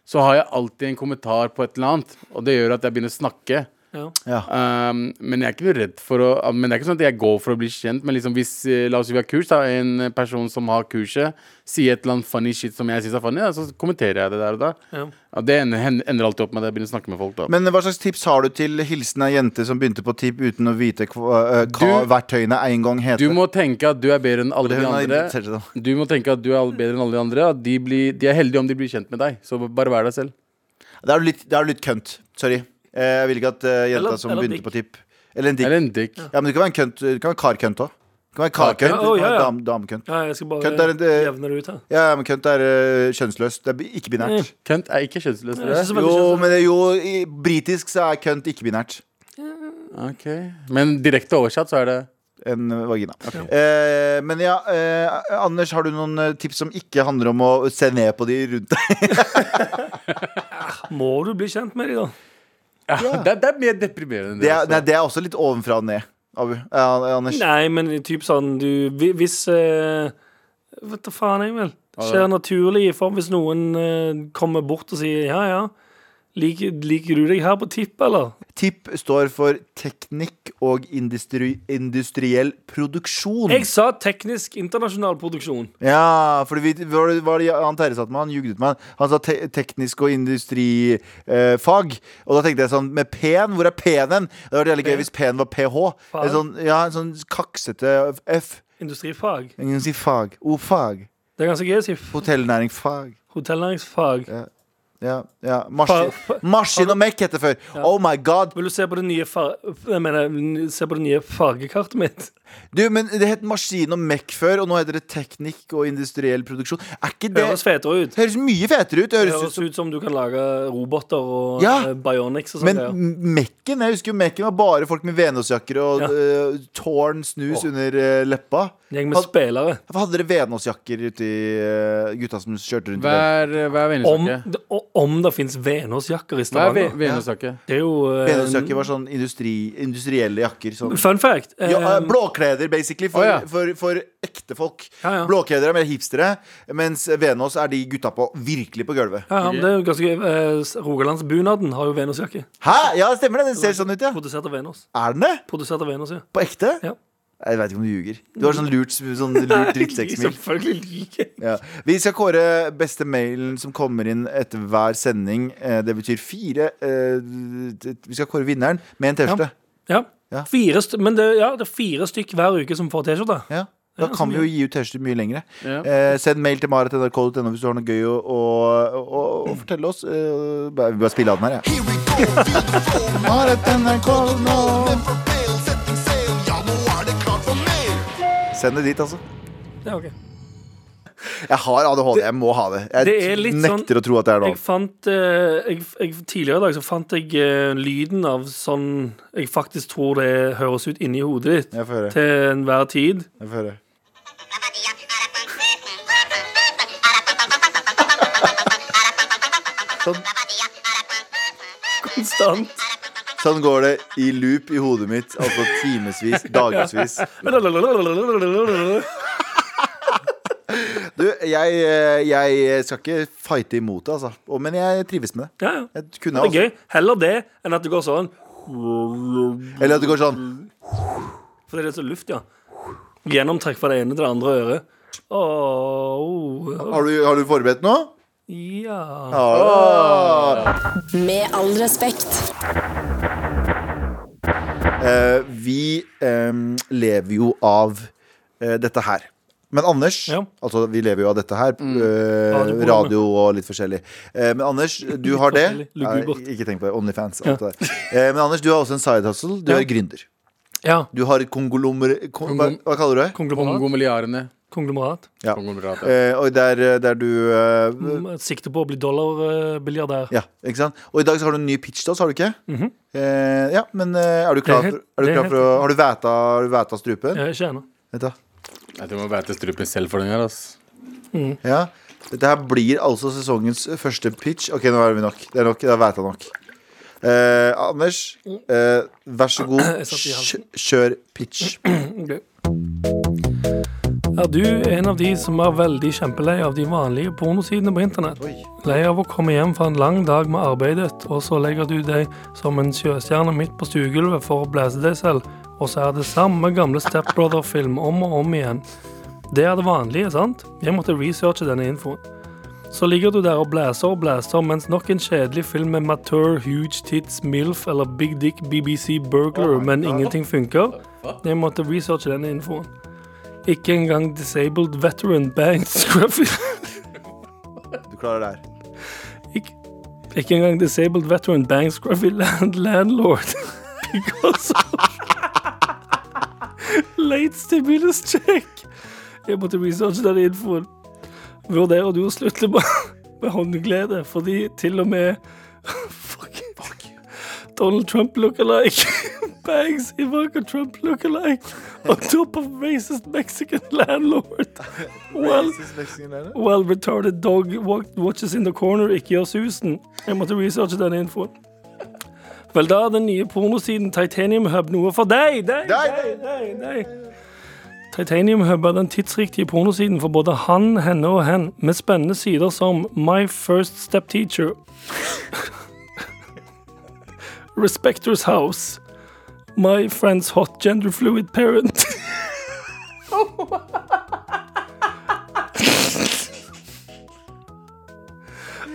så har jeg alltid en kommentar på et eller annet. Og det gjør at jeg begynner å snakke. Ja. Um, men jeg er ikke noe redd for å Men det er ikke sånn at jeg går for å bli kjent. Men liksom hvis, eh, la oss si vi har kurs, da en person som har kurset, sier et eller annet funny shit som jeg syns er funny, ja, så kommenterer jeg det der og da. Ja. Ja, det ender, hen- ender alltid opp med at jeg begynner å snakke med folk. da Men hva slags tips har du til hilsen av jente som begynte på TIP uten å vite hva, eh, hva Du- verktøyene en gang Du heter? må tenke at du er bedre enn alle det de hun har interessert andre. seg i. Du må tenke at du er all- bedre enn alle de andre. At de, blir, de er heldige om de blir kjent med deg. Så bare vær deg selv. Da er du litt, da er du litt kønt. Sorry. Eh, Jeg vil ikke at eh, jenta Eller- som eller begynte dick. på TIP Eller en dick. Eller en dick. Ja, men du kan være en kønt. Du kan være karkønt òg. Du kan være karkønt. Karkønt? Å, ja, ja. Dam, damekønt. Ja, jeg skal bare Kødd er et, eh, jevne det ut her. Ja, men kønt er eh, kjønnsløst. Det er bi- ikke binært. Kønt er ikke kjønnsløst. Jeg synes dere. Eh, det er veldig Jo, kjent. men det er jo i britisk så er kønt ikke binært. Ok. Men direkte oversatt så er det En vagina. Eh, men ja, eh, Anders, har du noen eh, tips som ikke handler om å se ned på de rundt deg? Må du bli kjent med dem, da? ja. det, er- det er mer deprimerende enn Det er, altså. nei, det er også litt ovenfra og ned, Abu. Eh, Anders. Nei, men typ sånn du hvi- Hvis eh, Vet da faen, jeg vel. Det skjer naturlig i form hvis noen eh, kommer bort og sier ja, ja. Liker, liker du deg her på tipp, eller? TIP står for teknikk og industri, industriell produksjon. Jeg sa teknisk internasjonal produksjon. Ja, for vi, hva var det- hva var det Jan Terje satt med? Han jugde med han. Han sa te teknisk og industrifag. Eh, fag. og da tenkte jeg sånn Med P-en, hvor er P-en? Det hadde vært jævlig gøy hvis P-en var PH. En sånn, ja, en sånn kaksete F. Industrifag. Jeg kan si fag. O-fag. Det er ganske gøy å si f- Hotellnæring fag. hotellnæringsfag. Ja, ja. Maskin, Fa- fa- maskin og mekk heter det før. Oh my god. Vil du se på det nye, fa- jeg mener, n- se på det nye fargekartet mitt? Du, men Det het maskin og mekk før, og nå heter det teknikk og industriell produksjon. Er ikke Det høres det fetere ut. Det høres mye fetere ut. Det Det høres ut høres som ut som du kan lage roboter og Ja. eh, bionics og sånt. Men greier. m- Mekken, jeg husker jo Mekken var bare folk med Venåsjakker og Ja. eh, tårn snus under eh, leppa. Gjeng med Had- spillere. Hvorfor hadde dere Venåsjakker ute i eh, gutta som kjørte rundt? i det? Hver, hver Om, vennesakke. d- og om det fins Hver Venås-jakker i ve- Stavanger. vennesakke. Det er jo eh, Venåsjakker var sånn industri, industrielle jakker. Sånn. Fun fact. eh, Ja, eh, blåkleder, basically, for, Å, ja. for, for ekte folk. Ja, ja. Blåkleder er mer hipstere, mens Venås er de gutta på virkelig på gulvet. ja, men det er jo ganske gøy. Eh, s- Rogalandsbunaden har jo Venås-jakke. Hæ? Ja, det stemmer det. Den ser sånn ut, ja. Produsert av Venås. Er den det? Produsert av Venås, ja. På ekte? Ja. Jeg veit ikke om du ljuger. Du har sånn lurt, sånn lurt [LAUGHS] drittsekksmil. Selvfølgelig like. Ja. Vi skal kåre beste mailen som kommer inn etter hver sending. Eh, Det betyr fire eh, d- Vi skal kåre vinneren med en T-skjorte. Ja. Ja. Fire st men det, ja, det er fire stykk hver uke som får T-skjorte. Ja. Da Ja, kan så vi jo gi ut T-skjorter mye lengre. Ja. Eh, send mail til marit.nrk.no hvis du har noe gøy å, å, å, å fortelle oss. Eh, bare- vi bare spiller av den her, jeg. Here we go, feel the flow. Marit.nrk.no. [LAUGHS] Never fail, setting sail. Ja, nå er det klart for mer. Send det dit, altså. Ja, ok. Jeg har ADHD. Jeg må ha det. Jeg Det er litt nekter å tro at det er Jeg lov. fant eh, jeg, jeg, Tidligere i dag så fant jeg eh, lyden av sånn jeg faktisk tror det høres ut inni hodet ditt. Jeg får høre. Til enhver tid. [LAUGHS] Jeg får høre. Sånn. Konstant. Sånn går det i loop i hodet mitt. Altså timevis, dagevis. Du, jeg, eh, jeg skal ikke fighte imot det, altså. Og- Men jeg trives med det. Ja, ja. Jeg kunne Det er altså. gøy. Heller det enn at det går sånn. Eller at det går sånn. For det er så luft, ja. Gjennomtrekk fra det ene til det andre øret. Åh, Har du, har du forberedt noe? ja. Ja. Med all respekt. Eh, vi em, lever jo av eh, dette her. Men Anders Ja. Mm. Altså, vi lever jo av dette her. eh, Radioprogrammet. radio og litt forskjellig. Eh, men Anders, du har det. forskjellig. Lugubert. Nei, ikke tenk på det. Onlyfans. Alt det der. Eh, men Anders, du har også en side hustle. Du Ja. er gründer. ja. Du har et kongolomer... Kon hva, Kongom- hva kaller du det? Konglomerat. Kongomilliardene. Konglomerat. Ja. Konglomerat, ja. Eh, og der, der du eh, Mm, Sikte på å bli dollarbiljardær. Ja, ikke sant? Og i dag så har du en ny pitch til oss, har du ikke? eh, ja, men eh, er du klar Mhm. for, Det er helt- er du det er klar for å Har du væta, har du væta strupen? Jeg ikke ennå. Vet du hva? Jeg tror jeg må bære til strupen selv for den her. ass. Ja. Dette her blir altså sesongens første pitch. Ok, nå er vi nok. Det er nok, det er væta nok. Eh, Anders, eh, vær så god, satt i halsen. kj- kjør pitch. Ok. Er du en av de som er veldig kjempelei av de vanlige pornosidene på internett? Lei av å komme hjem fra en lang dag med arbeidet, og så legger du deg som en sjøstjerne midt på stuegulvet for å blæse deg selv, og så er det samme gamle Stepbrother-film om og om igjen. Det er det vanlige, sant? Jeg måtte researche denne infoen. Så ligger du der og blæser og blæser mens nok en kjedelig film med mature, huge tits, MILF eller Big Dick BBC Burglar, men ingenting funker. Jeg måtte researche denne infoen. Ikke engang disabled veteran bangs scruffy [LAUGHS] Du klarer det her. ikke, ikke engang disabled veteran bangs scruffy [LAUGHS] land, landlord because of [LAUGHS] late stimulus check. Jeg måtte researche denne infoen. Vurderer du å slutte med, [LAUGHS] med håndglede fordi til og med [LAUGHS] fuck, Donald Trump [LAUGHS] look-alike bangs Ivanka Trump look-alike on top of racist Mexican landlord. Well, Well retarded dog walk- watches in the corner ikke gjør susen. Jeg måtte researche denne infoen. Vel, da er den nye pornosiden Titanium Hub noe for deg! deg, deg, deg, deg. Titanium Hub er den tidsriktige pornosiden for både han, henne og hen, med spennende sider som My First Step Teacher, [LAUGHS] Respectors House, My Friend's Hot Gender Fluid Parent [LAUGHS]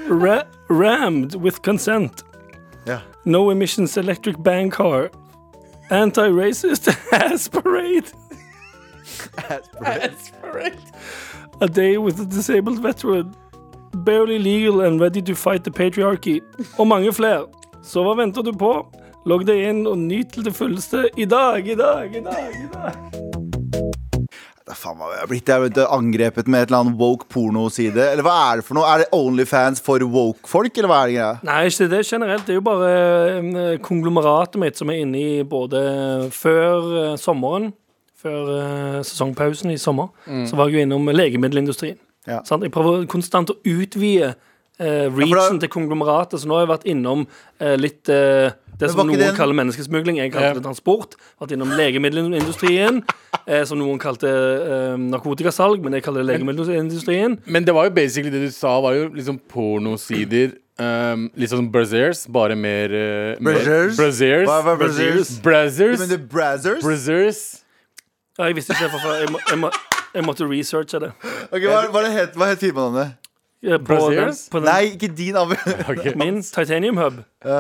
Ra Rammed with Consent. Ja. No emissions electric bang car. Anti-racist [LAUGHS] ass parade. Ass parade. A day with a disabled veteran. Barely legal and ready to fight the patriarchy. Og mange flere. Så hva venter du på? Logg deg inn og nyt til det fulleste i dag, i dag, i dag. i dag. Da faen meg, jeg har blitt jeg har blitt angrepet med et eller annet woke pornoside. Eller hva er det for noe? Er det Onlyfans for woke-folk, eller hva er det greia? Nei, ikke det generelt. Det er jo bare eh, konglomeratet mitt som er inne i både før eh, sommeren, før eh, sesongpausen i sommer, så var jeg jo innom legemiddelindustrien. Mm. Ja. Sant? Jeg prøver konstant å utvide eh, reachen til konglomeratet, så nå har jeg vært innom eh, litt eh, det som var ikke noen det en- kaller menneskesmugling. Jeg kalte Ja. det transport. Vært innom legemiddelindustrien, eh, som noen kalte eh, narkotikasalg, men jeg kaller det legemiddelindustrien. Men det var jo basically det du sa, var jo liksom pornosider. Um, litt sånn Braziers, bare mer uh, Braziers? Braziers. Hva- hva er Braziers? Braziers. Men det er Brazzers? Braziers. Ja, jeg visste ikke det fra før. Jeg, må, jeg, må, jeg måtte researche det. Ok, hva, hva er det het, hva het firmanavnet? Ja, eh, På den, Braziers? på den Nei, ikke din. [LAUGHS] av- Ok. min Titanium Hub. Ja.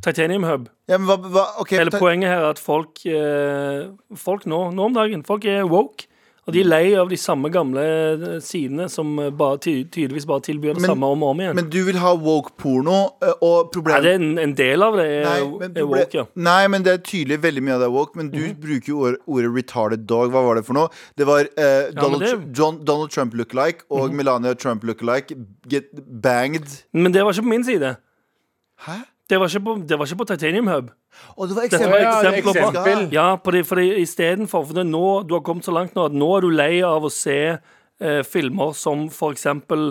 Titanium Hub. Ja, men hva, hva, ok, Hele ta- poenget her er at folk, eh, folk nå, nå om dagen Folk er woke. Og de er lei av de samme gamle eh, sidene som eh, bare, ty tydeligvis bare tilbyr det Men- samme om og om igjen. men du vil ha woke-porno, eh, og Nei, det problemet er en, en del av det er, Nei, men er proble- woke, ja. Mhm. Nei, men det er tydelig veldig mye av det er woke, men du bruker jo ordet, ordet retarded dog. Hva var det for noe? Det var eh, Donald, det- Mhm. Tr- John, Donald Trump look-alike og Melania Trump look-alike get banged. Men det var ikke på min side. Hæ? Det var ikke på, det var ikke på Titanium Hub. Og det var Det eksempel. var Ja, det er eksempler på eksempel. Ja, på det, for det, istedenfor For det, er nå, du har kommet så langt nå at nå er du lei av å se eh, filmer som for eksempel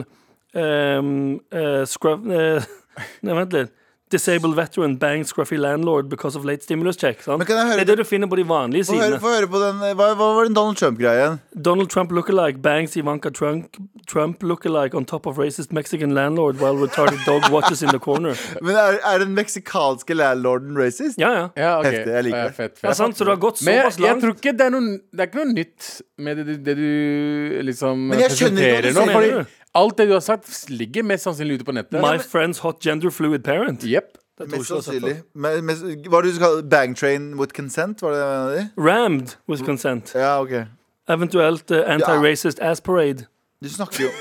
ehm, eh, Scruff... Eh, [LAUGHS] nei, vent litt. Disabled veteran bang scruffy landlord because of late stimulus check. Sant? Men kan jeg høre det er det du finner på de vanlige Få høre, sidene. få høre på den eh, Hva, hva var den Donald Trump-greien? Donald Trump look-alike bangs Ivanka Trump, Trump look-alike on top of racist Mexican landlord while retarded dog watches in the corner. Men er, er den meksikanske landlorden racist? Ja, ja. Ja, ok. Heftig, jeg liker Ja, det. Fett, fett. ja sant? Så det har gått Men jeg, såpass jeg langt. tror ikke det er, noe, det er ikke noe nytt med det, du- det du liksom Men jeg skjønner ikke hva du presenterer nå. mener. Fordi alt det du har sagt, ligger mest sannsynlig ute på nettet. My friend's hot gender fluid parent. Jepp. Det tror Mest ikke jeg har sett før. sannsynlig. Men- mest- Hva var det du kalte Bang train with consent? Var det det en av de? Rammed Mm. with consent. Ja, ok. Eventuelt eh, anti-racist ass parade. Du snakker jo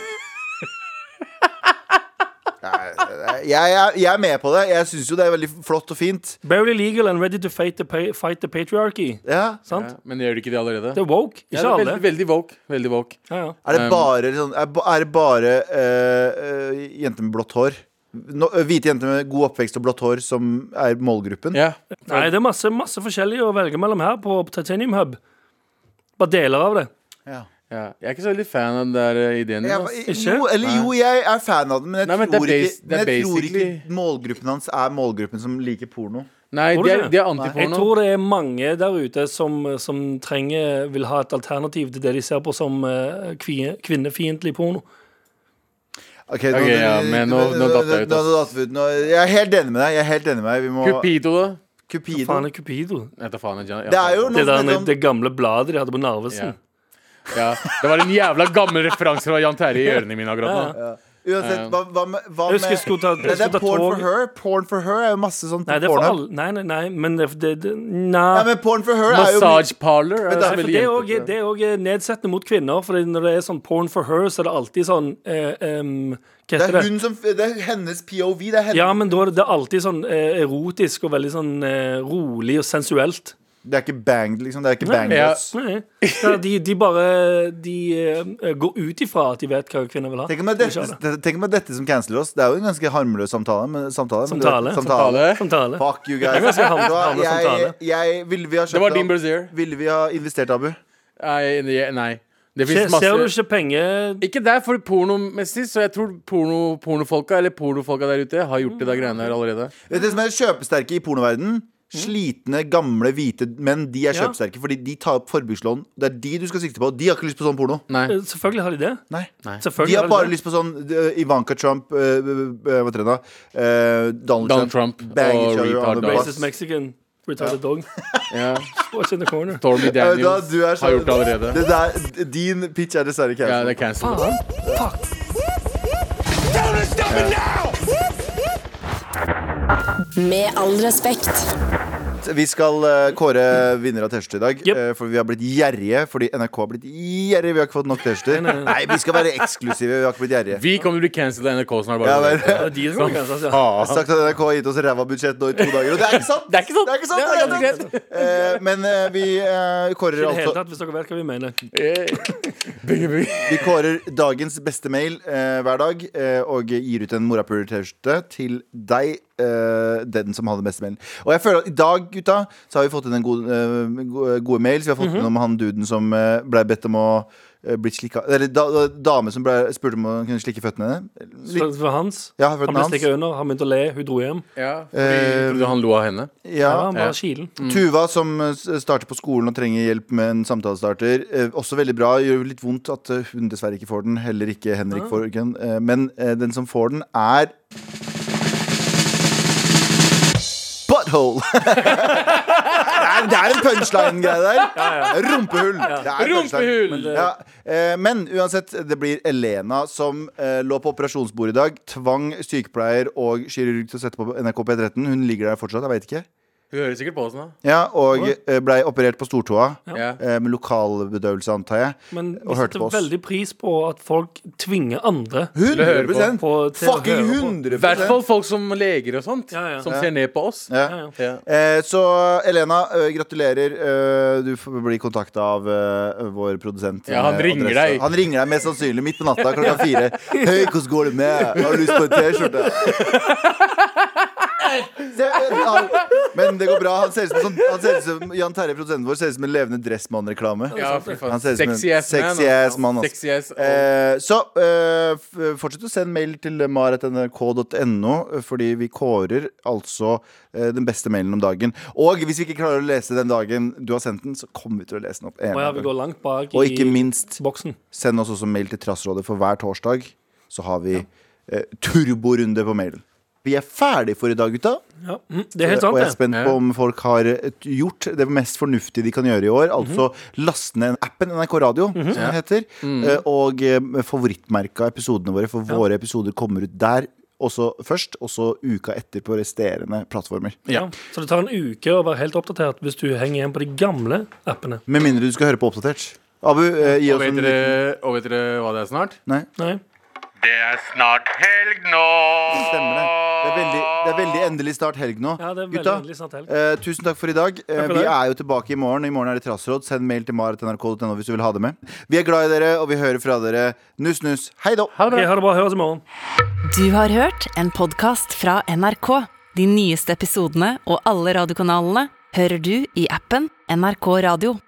Nei, jeg, jeg, jeg er med på det. Jeg syns jo det er veldig flott og fint. Barely legal and ready to fight the, pa fight the patriarchy. Ja. Sant? Ja, men gjør de ikke det allerede? Det er woke. Ja, Ikke det er alle. veldig, veldig woke. Veldig woke. Ja, ja. Er det Um, bare, sånn, er ba- er det bare eh, eh, jenter med blått hår? No, hvite jenter med god oppvekst og blått hår som er målgruppen? Ja. Nei, det er masse, masse forskjellig å velge mellom her på Titanium Hub. Bare deler av det. Ja. Jeg er ikke så veldig fan av den der eh, ideen din. Jeg, ass. Ikke? jo, eller jo, jeg er fan av den, men jeg, Nei, men det er tror, ikke, bas- det men er jeg tror ikke basically- målgruppen hans er målgruppen som liker porno. Nei, Tror du de er, ikke? de er Jeg antiporno. tror det er mange der ute som, som trenger, vil ha et alternativ til det de ser på som eh, kvi- kvinnefiendtlig porno. Ok, Ok, ja, men nå- nå datt jeg ut, altså. nå- ass. nå datt vi ut. Nå, jeg er helt enig med deg. Jeg er helt enig med deg. Vi må Cupido, da. Cupido. Faen er Cupido. Nei, ta faen, jeg- ja, Det er jo Det, noe der, som heter det gamle bladet de hadde på ja. Narvesen. ja. Det var en jævla gammel referanse fra Jan Terje i ørene mine akkurat nå. Uansett, hva, hva med, hva med Jeg husker jeg skulle ta- jeg Nei, Det skulle ta er porn for tog. her. Porn for her er jo masse sånn Nei, det er for porno. alle. Nei, nei, nei, men det, det, det Nei. Nei, men porn for her er jo Massage parlor. Er Men det er også Nei, for veldig det er jentete. også- det er òg nedsettende mot kvinner. For når det er sånn porn for her, så er det alltid sånn eh, em, Hva Det heter er det? hun som Det er hennes POV. Det er, hennes. Ja, men da er det alltid sånn eh, erotisk og veldig sånn eh, rolig og sensuelt. det er ikke banged, liksom. Det er ikke banged. ja. ass. Nei, ja, de, de bare De eh, går ut ifra at de vet hva kvinner vil ha. Tenk om, det De er vil ikke ha dette, tenk om det er dette som canceler oss. Det er jo en ganske harmløs samtale. Men, samtale, men du Samtale. vet- Samtale. det. Samtale. Fuck you guys. Det er ganske harm- Vet du hva? harmløs jeg, samtale. jeg, ville vi ha Det kjøpt var din brazier. Ville vi ha investert, Abu? Nei, det- nei. Det Ser, finnes ser du masse ikke penger Ikke der for pornomessig, så jeg tror porno, pornofolka eller pornofolka der ute har gjort det der greiene her allerede. Vet du det som er kjøpesterke i pornoverden? Slitne, gamle, hvite menn. De er Ja. kjøpesterke fordi de tar opp forbrukslån. Det er de du skal sikte på. De har ikke lyst på sånn porno. Nei. Eh, Selvfølgelig har de det. Nei. Selvfølgelig De har bare det. lyst på sånn eh, Ivanka Trump eh, eh, Hva heter det da? Eh, Donald, Donald Trump. Trump Bang og each other on retard the dog. bus. Racist Mexican. Retarded dog. Ja. Watch in [LAUGHS] the corner. Stormy Eh, da, Daniels du er har gjort det Det allerede. der, din pitch er dessverre Ja, cancelled. det er cancelled. Faen. Med all respekt. Vi skal eh, kåre vinner av T-skjorte i dag, Jep. eh, for vi har blitt gjerrige. Fordi NRK har blitt gjerrige. Vi har ikke fått nok T-skjorter. Nei, vi skal være eksklusive. Vi har ikke blitt gjerrige. Vi kommer til å bli cancelled av NRK snart. Ja, men, Bare. Det er de som har grensa, altså. Jeg har sagt at NRK har gitt oss ræva budsjett nå i to dager, og det er ikke sant! Det er ikke sant. Det er ikke sant, Det er det er ikke sant. Eh, men eh, vi eh, I kårer det hele altså tatt, hvis dere vet hva vi mener. Eh, bygge, bygge. Vi kårer dagens beste mail eh, hver dag, eh, og gir ut en morapuler-T-skjorte til deg, eh, den som hadde beste mailen. Og jeg føler at i dag, gutta, så har vi fått inn en god, eh, go- gode mails. Vi har fått inn om han duden som eh, ble bedt om å eh, bli slikka Eller da, da, dame som ble, spurte om å kunne slikke føttene. Så Litt, det var hans. ja, Han føttene ble hans. stikket under, han begynte å le, hun dro hjem. Ja, fordi Eh, jeg trodde han lo av henne. Ja. Ja, han ja. var kilen. Tuva som eh, s- starter på skolen og trenger hjelp med en samtalestarter. Eh, Også veldig bra. Gjør litt vondt at eh, hun dessverre ikke får den. Heller ikke Henrik får den. Eh, Men eh, den som får den, er Butthole! [LAUGHS] det, er, det er en punchline-greie der. Rumpehull. Det er en punchline. Rumpehull! Men, ja. eh, men uansett, det blir Elena som eh, lå på operasjonsbordet i dag. Tvang sykepleier og kirurg til å sette på NRK P13. Hun ligger der fortsatt, jeg veit ikke. Hun hører sikkert på oss nå. Ja, og eh, blei operert på stortåa. Ja. eh, Med lokalbedøvelse, antar jeg. Men vi og hørte setter på oss. veldig pris på at folk tvinger andre. 100 På- til å Fucking høre 100 på. I hvert fall folk som leger og sånt, Ja, ja. som ser ned på oss. Ja. Ja, ja. Ja. Eh, Så Elena, eh, gratulerer. Eh, Du får bli kontakta av eh, vår produsent. Ja, han med ringer adresse. deg. Han ringer deg mest sannsynlig midt på natta [LAUGHS] klokka fire. 'Hei, hvordan går det med? Har du lyst på en T-skjorte?' Se, eh, han- Men det går bra. Han ser ut som, en sånn, han ser ut som Jan Terje, produsenten vår, ser ut som en levende Dressmann-reklame. Ja, fy faen. Han ser ut som en Sexy ass man. sexy ass mann, ass. Sexy ass. Eh, så eh, f- fortsett å sende mail til maret.nrk.no, eh, fordi vi kårer altså eh, den beste mailen om dagen. Og hvis vi ikke klarer å lese den dagen du har sendt den, så kommer vi til å lese den opp. en Og ja, gang. vi går langt bak og ikke i minst, boksen. send oss også mail til Trassrådet, for hver torsdag så har vi eh, turborunde på mailen. Vi er ferdig for i dag, gutta. Ja. mm, Det er helt sant, Og jeg er det. spent på Ja. om folk har eh, gjort det mest fornuftige de kan gjøre i år. Altså laste ned appen NRK Radio, Mhm. som den heter, Mm. eh, og eh, favorittmerka episodene våre, for våre episoder kommer ut der. Også først, og så uka etter på resterende plattformer. Ja. Så det tar en uke å være helt oppdatert hvis du henger igjen på de gamle appene. Med mindre du skal høre på Oppdatert. Abu, eh, gi Og oss en liten vet, dere, og vet dere hva det er snart? Nei, Nei. Det er snart helg nå. stemmer det. Det er veldig, det er veldig endelig snart helg nå. Ja, det er veldig Gutta, endelig snart helg. eh, tusen takk for i dag. Eh, for vi det. er jo tilbake i morgen. I morgen er det trassråd. Send mail til maret.nrk.no hvis du vil ha det med. Vi er glad i dere, og vi hører fra dere. Nuss, nuss. Hei da. Ok, ha det bra. Høres i morgen. Du har hørt en podkast fra NRK. De nyeste episodene og alle radiokanalene hører du i appen NRK Radio.